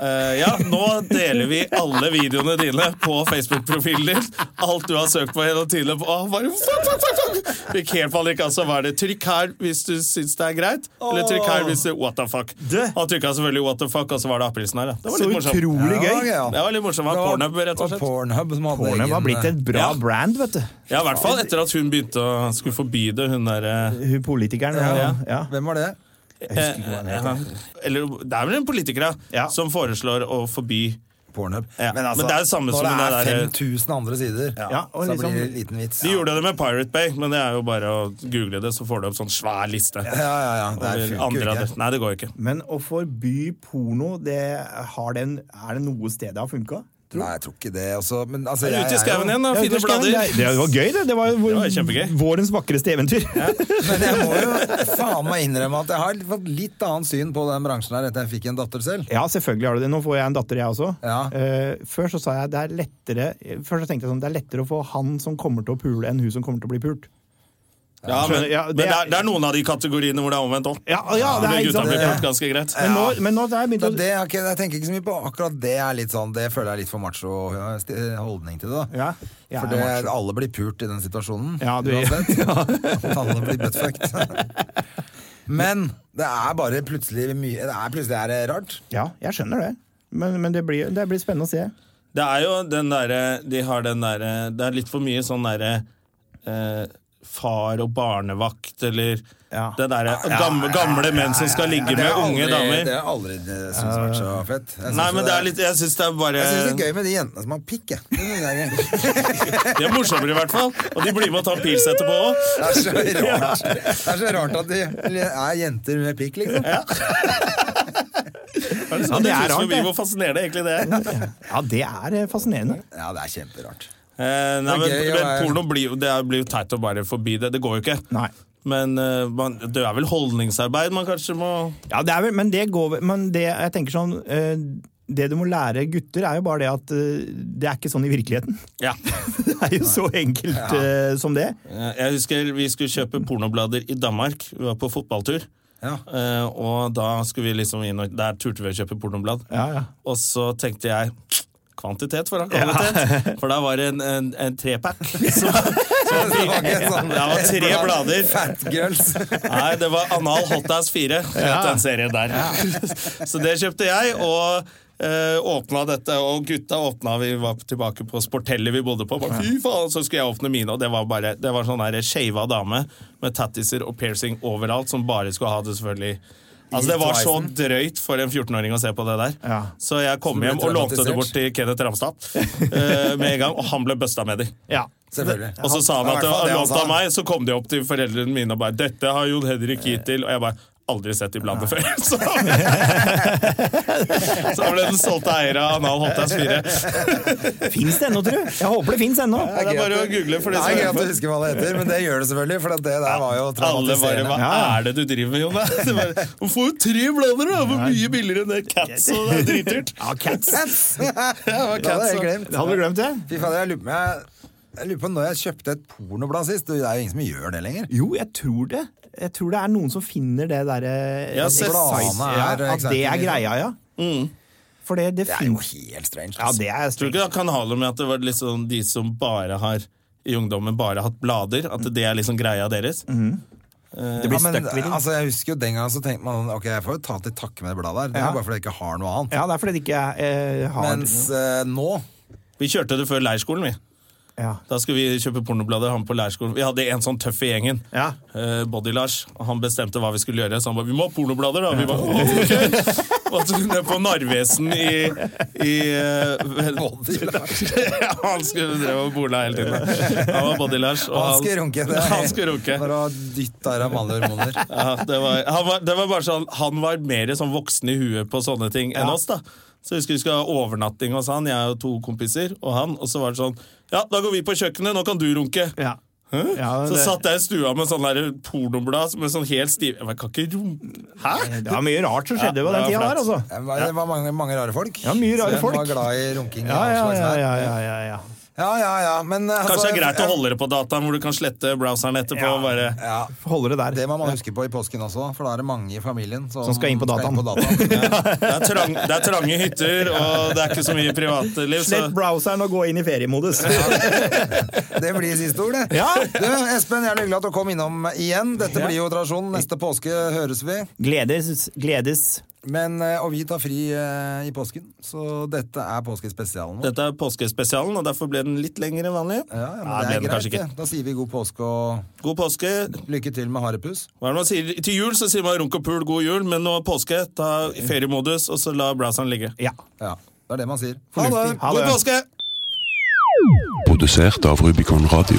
S1: Eh, ja, nå deler vi alle videoene dine på Facebook-profilen din. Alt du har søkt på hele tiden. Åh, bare, fuck, fuck, fuck, fuck. Fikk helt panikk, altså. Var det 'trykk her hvis du syns det er greit', eller 'trykk her hvis du What the fuck'.
S3: Det-
S1: Han trykka selvfølgelig 'what the fuck', og så var det appelsen her. Ja. Det var
S3: Så
S1: litt morsomt.
S3: utrolig
S2: Ja,
S3: gøy!
S2: ja.
S1: Det var litt morsomt. Det var Pornhub, rett og slett.
S2: Pornhub som hadde
S3: Pornhub har
S2: egen,
S3: blitt et bra
S1: Ja.
S3: brand, vet du.
S1: Ja, i hvert fall etter at hun begynte å skulle forby det, hun eh, derre
S3: Hun politikeren. Ja. Ja.
S2: Hvem var det?
S1: eh, Eller det er vel en politiker, ja,
S3: Ja.
S1: som foreslår å forby
S2: Pornhub. altså,
S1: Ja, men det er det samme
S2: når
S1: som
S2: det
S1: den
S2: er
S1: der- eh,
S2: 5000 andre sider,
S3: Ja, og
S2: så
S3: liksom-
S2: blir det en liten vits.
S1: De gjorde det med Pirate Bay, men det er jo bare å google det, så får du opp sånn svær liste.
S2: Ja, ja, ja. Det er
S1: Over
S2: funker
S1: andre
S2: ikke.
S1: adres- Nei, det går ikke.
S3: Men å forby porno, det har den, er det noe sted det har funka?
S2: Nei, jeg tror ikke det. Også, men altså,
S1: Det er
S2: jeg
S1: Ute i
S2: er jo-
S1: skauen igjen, da.
S3: Ja,
S1: Fine
S3: det skal-
S1: blader.
S3: Det, det var gøy, det. Det var, jo
S1: var kjempegøy.
S3: vårens vakreste eventyr.
S2: *laughs* Men jeg må jo faen meg innrømme at jeg har fått litt annet syn på den bransjen her etter jeg fikk en datter selv.
S3: *laughs* Ja, selvfølgelig har du det. Nå får jeg en datter, jeg også.
S2: Ja.
S3: Eh, før så sa jeg det er lettere Først så tenkte jeg sånn, det er lettere å få han som kommer til å pule, enn hun som kommer til å bli pult.
S1: Ja, men,
S3: Skjønner, ja,
S1: men
S3: det
S1: det,
S3: er-
S1: er, det er noen av de kategoriene hvor det er omvendt òg.
S3: Ja, ja, det er ikke
S1: gutta
S3: sant.
S1: blir pult ganske greit.
S3: Men nå, men nå har jeg begynt
S2: Så
S3: å
S2: det er ikke, jeg tenker ikke så mye på akkurat det. er litt sånn, Det føler jeg er litt for macho ja, sti- holdning til det. da.
S3: Ja, jeg
S2: For
S3: er
S2: det,
S3: macho.
S2: alle blir pult i den situasjonen.
S3: *laughs* Ja, du-
S2: uansett. Alle blir
S3: *laughs*
S2: buttfucked. Men det er bare plutselig mye det er, Plutselig er det rart.
S3: Ja, jeg skjønner det. Men, men det, blir, det blir spennende å se.
S1: Det er jo den derre De har den derre Det er litt for mye sånn derre eh, Far og barnevakt, eller
S3: Ja.
S1: det derre gamle, gamle menn som skal ligge
S2: Det
S1: med
S2: er
S1: unge
S2: aldri-
S1: damer.
S2: Det har jeg aldri syntes vært så fett. Jeg synes
S1: Nei,
S2: jo
S1: men det er litt Jeg syns det er bare
S2: jeg synes det er gøy med de jentene som har pikk, jeg. Det
S3: *laughs*
S2: er gøy.
S1: De er morsommere, i hvert fall. Og de blir med og tar pils etterpå òg.
S2: *laughs* Det er så rart, det er så rart at de er jenter med pikk, liksom.
S1: Ja, det er rart. Hvor fascinerende egentlig det
S2: *laughs*
S1: er.
S3: Ja, det er eh, fascinerende.
S2: Ja, det er
S1: *laughs*
S2: kjemperart.
S1: Eh, nei, men,
S2: Det er gøy å
S1: men
S2: være-
S1: porno blir jo Det er- blir jo teit å bare forby det. Det går jo ikke.
S3: Nei.
S1: Men eh, man, det er vel holdningsarbeid man kanskje må
S3: Ja, det er vel, men det går vel Men det, jeg tenker sånn eh, Det du må lære gutter, er jo bare det at eh, det er ikke sånn i virkeligheten.
S1: *laughs* Ja.
S3: Det er jo så enkelt eh, som det.
S1: Eh, Jeg husker vi skulle kjøpe pornoblader i Danmark. Vi var på fotballtur.
S2: Ja.
S1: Eh, og da skulle vi liksom inn og Der turte vi å kjøpe pornoblad.
S3: Ja, ja.
S1: Og så tenkte jeg kvantitet foran kvalitet. For da var det en, en, en trepack. som- som
S2: Det var
S1: fikk-
S2: ikke sånn-
S1: Det var
S2: et
S1: tre
S2: blad
S1: blader.
S2: Fat girls.
S1: Nei, det var Anal Hot Ass 4. Ja. Den serien der. *laughs* Så det kjøpte jeg, og eh, åpna dette. Og gutta åpna, vi var tilbake på sportellet vi bodde på. Bare, Fy faen, Så skulle jeg åpne mine, og det var bare Det var sånn der shava dame med tattiser og piercing overalt, som bare skulle ha det, selvfølgelig. Altså Det var så drøyt for en 14-åring å se på det der.
S3: Ja.
S1: Så jeg kom hjem og lånte det bort til Kenneth Ramstad eh, med en gang, og han ble busta med de.
S3: Ja.
S2: Selvfølgelig.
S1: Og så sa han at
S2: i hvert
S1: det
S2: fall
S1: var
S2: han
S1: lånt
S2: sa.
S1: av meg, så kom de opp til foreldrene mine og bare 'Dette har Jon Henrik gitt til', og jeg bare Aldri sett i bladet før. *laughs* Så, så ble den solgte eier av Anal Hot Ass 4.
S3: Fins det ennå, tru? Jeg håper det fins ennå.
S1: Det er bare å google for de
S2: Det er
S1: som
S2: gøy
S1: hører
S2: at
S1: på.
S2: du husker hva det heter, men det gjør det selvfølgelig, for at det der var jo
S1: Alle bare
S2: traumatiserende.
S1: Hva
S3: Ja.
S1: er det du driver med, Jon? *laughs* Det er bare, Du får jo tre blader, da! Hvor mye billigere enn det Cats og det er
S2: *laughs*
S1: dritdyrt.
S3: Ja, cats.
S1: *laughs*
S3: altså.
S2: Ja,
S1: var
S2: det hadde
S1: cats, altså.
S2: jeg glemt.
S3: Hadde du glemt det?
S2: Fy faen, jeg lurer på om jeg- jeg lurer på når jeg kjøpte et pornoblad sist. Det er jo ingen som gjør det lenger.
S3: Jo, jeg tror det. Jeg tror det er noen som finner det derre
S1: Ja, sett-
S3: ja,
S2: Bladene er
S3: At det er
S2: exactly-
S3: greia, ja. For det, det
S2: Det er jo
S3: fins
S2: helt strange.
S3: Ja, det er
S1: Mm. Tror du ikke det kan ha noe med at det var liksom de som bare har i ungdommen bare hatt blader? At det er liksom greia deres?
S2: Mm.
S3: Det blir
S2: Ja, men,
S3: støkkvillig.
S2: altså, jeg husker jo den gangen så tenkte man ok, jeg får jo ta til takke med det bladet her. Det er
S3: Ja.
S2: bare fordi jeg ikke har noe annet.
S3: Ja, det er fordi det ikke eh, har
S2: Mens eh, nå
S1: Vi kjørte det før leirskolen, vi.
S3: ja.
S1: Da skulle vi kjøpe pornoblader. Han på lærerskolen Vi hadde en sånn tøff i gjengen.
S3: Ja.
S1: Eh, Body-Lars. Og Han bestemte hva vi skulle gjøre. Så han ba, vi må ha pornoblader, da. Vi ba, «Å, ok. Og så kunne jeg på Narvesen i, i
S2: *laughs*
S1: eh, ja, *laughs* Han skulle drev og bola hele tiden. Han var Body-Lars. og
S2: Han skulle runke. det er-
S1: *laughs* Han skulle runke.
S2: Når du har dytta i deg mannlige
S3: *laughs*
S2: hormoner.
S1: Ja, det, var, han var, det var bare sånn Han var mer sånn voksen i huet på sånne ting enn oss, da. Så jeg husker vi skulle ha overnatting hos han, jeg og to kompiser, og han. Og så var det sånn Ja, da går vi på kjøkkenet, nå kan du runke.
S3: ja. ja
S1: Så satt jeg i stua med sånn der pornoblad med sånn helt stiv Jeg bare, kan ikke rom... Hæ?
S3: Det var mye rart som skjedde på
S1: Ja,
S3: den
S1: det
S3: tida
S1: var
S3: der,
S1: flaut.
S2: Eh,
S3: altså.
S2: Det var, det var mange, mange rare folk.
S3: Ja, mye rare
S2: Som
S3: folk.
S2: var glad i runking. og
S3: Ja, ja,
S2: all slags
S3: ja,
S2: her.
S3: ja, ja, ja, ja.
S2: Ja, ja, ja, men eh,
S1: Kanskje det er
S2: altså,
S1: greit å holde det på dataen, hvor du kan slette browseren etterpå. og bare...
S2: Ja,
S3: Holder det der.
S2: det må man huske på i påsken også, for da er det mange i familien som,
S3: Som skal inn på dataen. *laughs*
S2: Ja.
S1: Det er, trang, det er trange hytter, og det er ikke så mye privatliv. Så.
S3: Slett browseren og gå inn i feriemodus.
S2: Det blir siste ord, det.
S3: Ja.
S2: Du, Espen, gjerne hyggelig at du kom innom igjen. Dette blir jo tradisjon. Neste påske høres vi.
S3: Gledes, gledes.
S2: Men, eh, og vi tar fri eh, i påsken, så dette er påskespesialen vår.
S1: Dette er påskespesialen, og derfor ble den litt lengre enn vanlig.
S2: Ja, ja, men
S1: Nei,
S2: det er
S1: ble den
S2: greit,
S1: kanskje
S2: det. Da sier vi god påske og
S1: God påske.
S2: lykke til med harepus.
S1: Hva er det man sier? Til jul så sier man runk og pul, god jul, men nå er påske, ta feriemodus, og så la browseren ligge.
S3: Ja.
S2: Ja, det er det man sier.
S1: Ha det!
S2: Fornuftig.
S3: Ha det.
S1: God påske!
S4: Produsert av Rubicon Radio.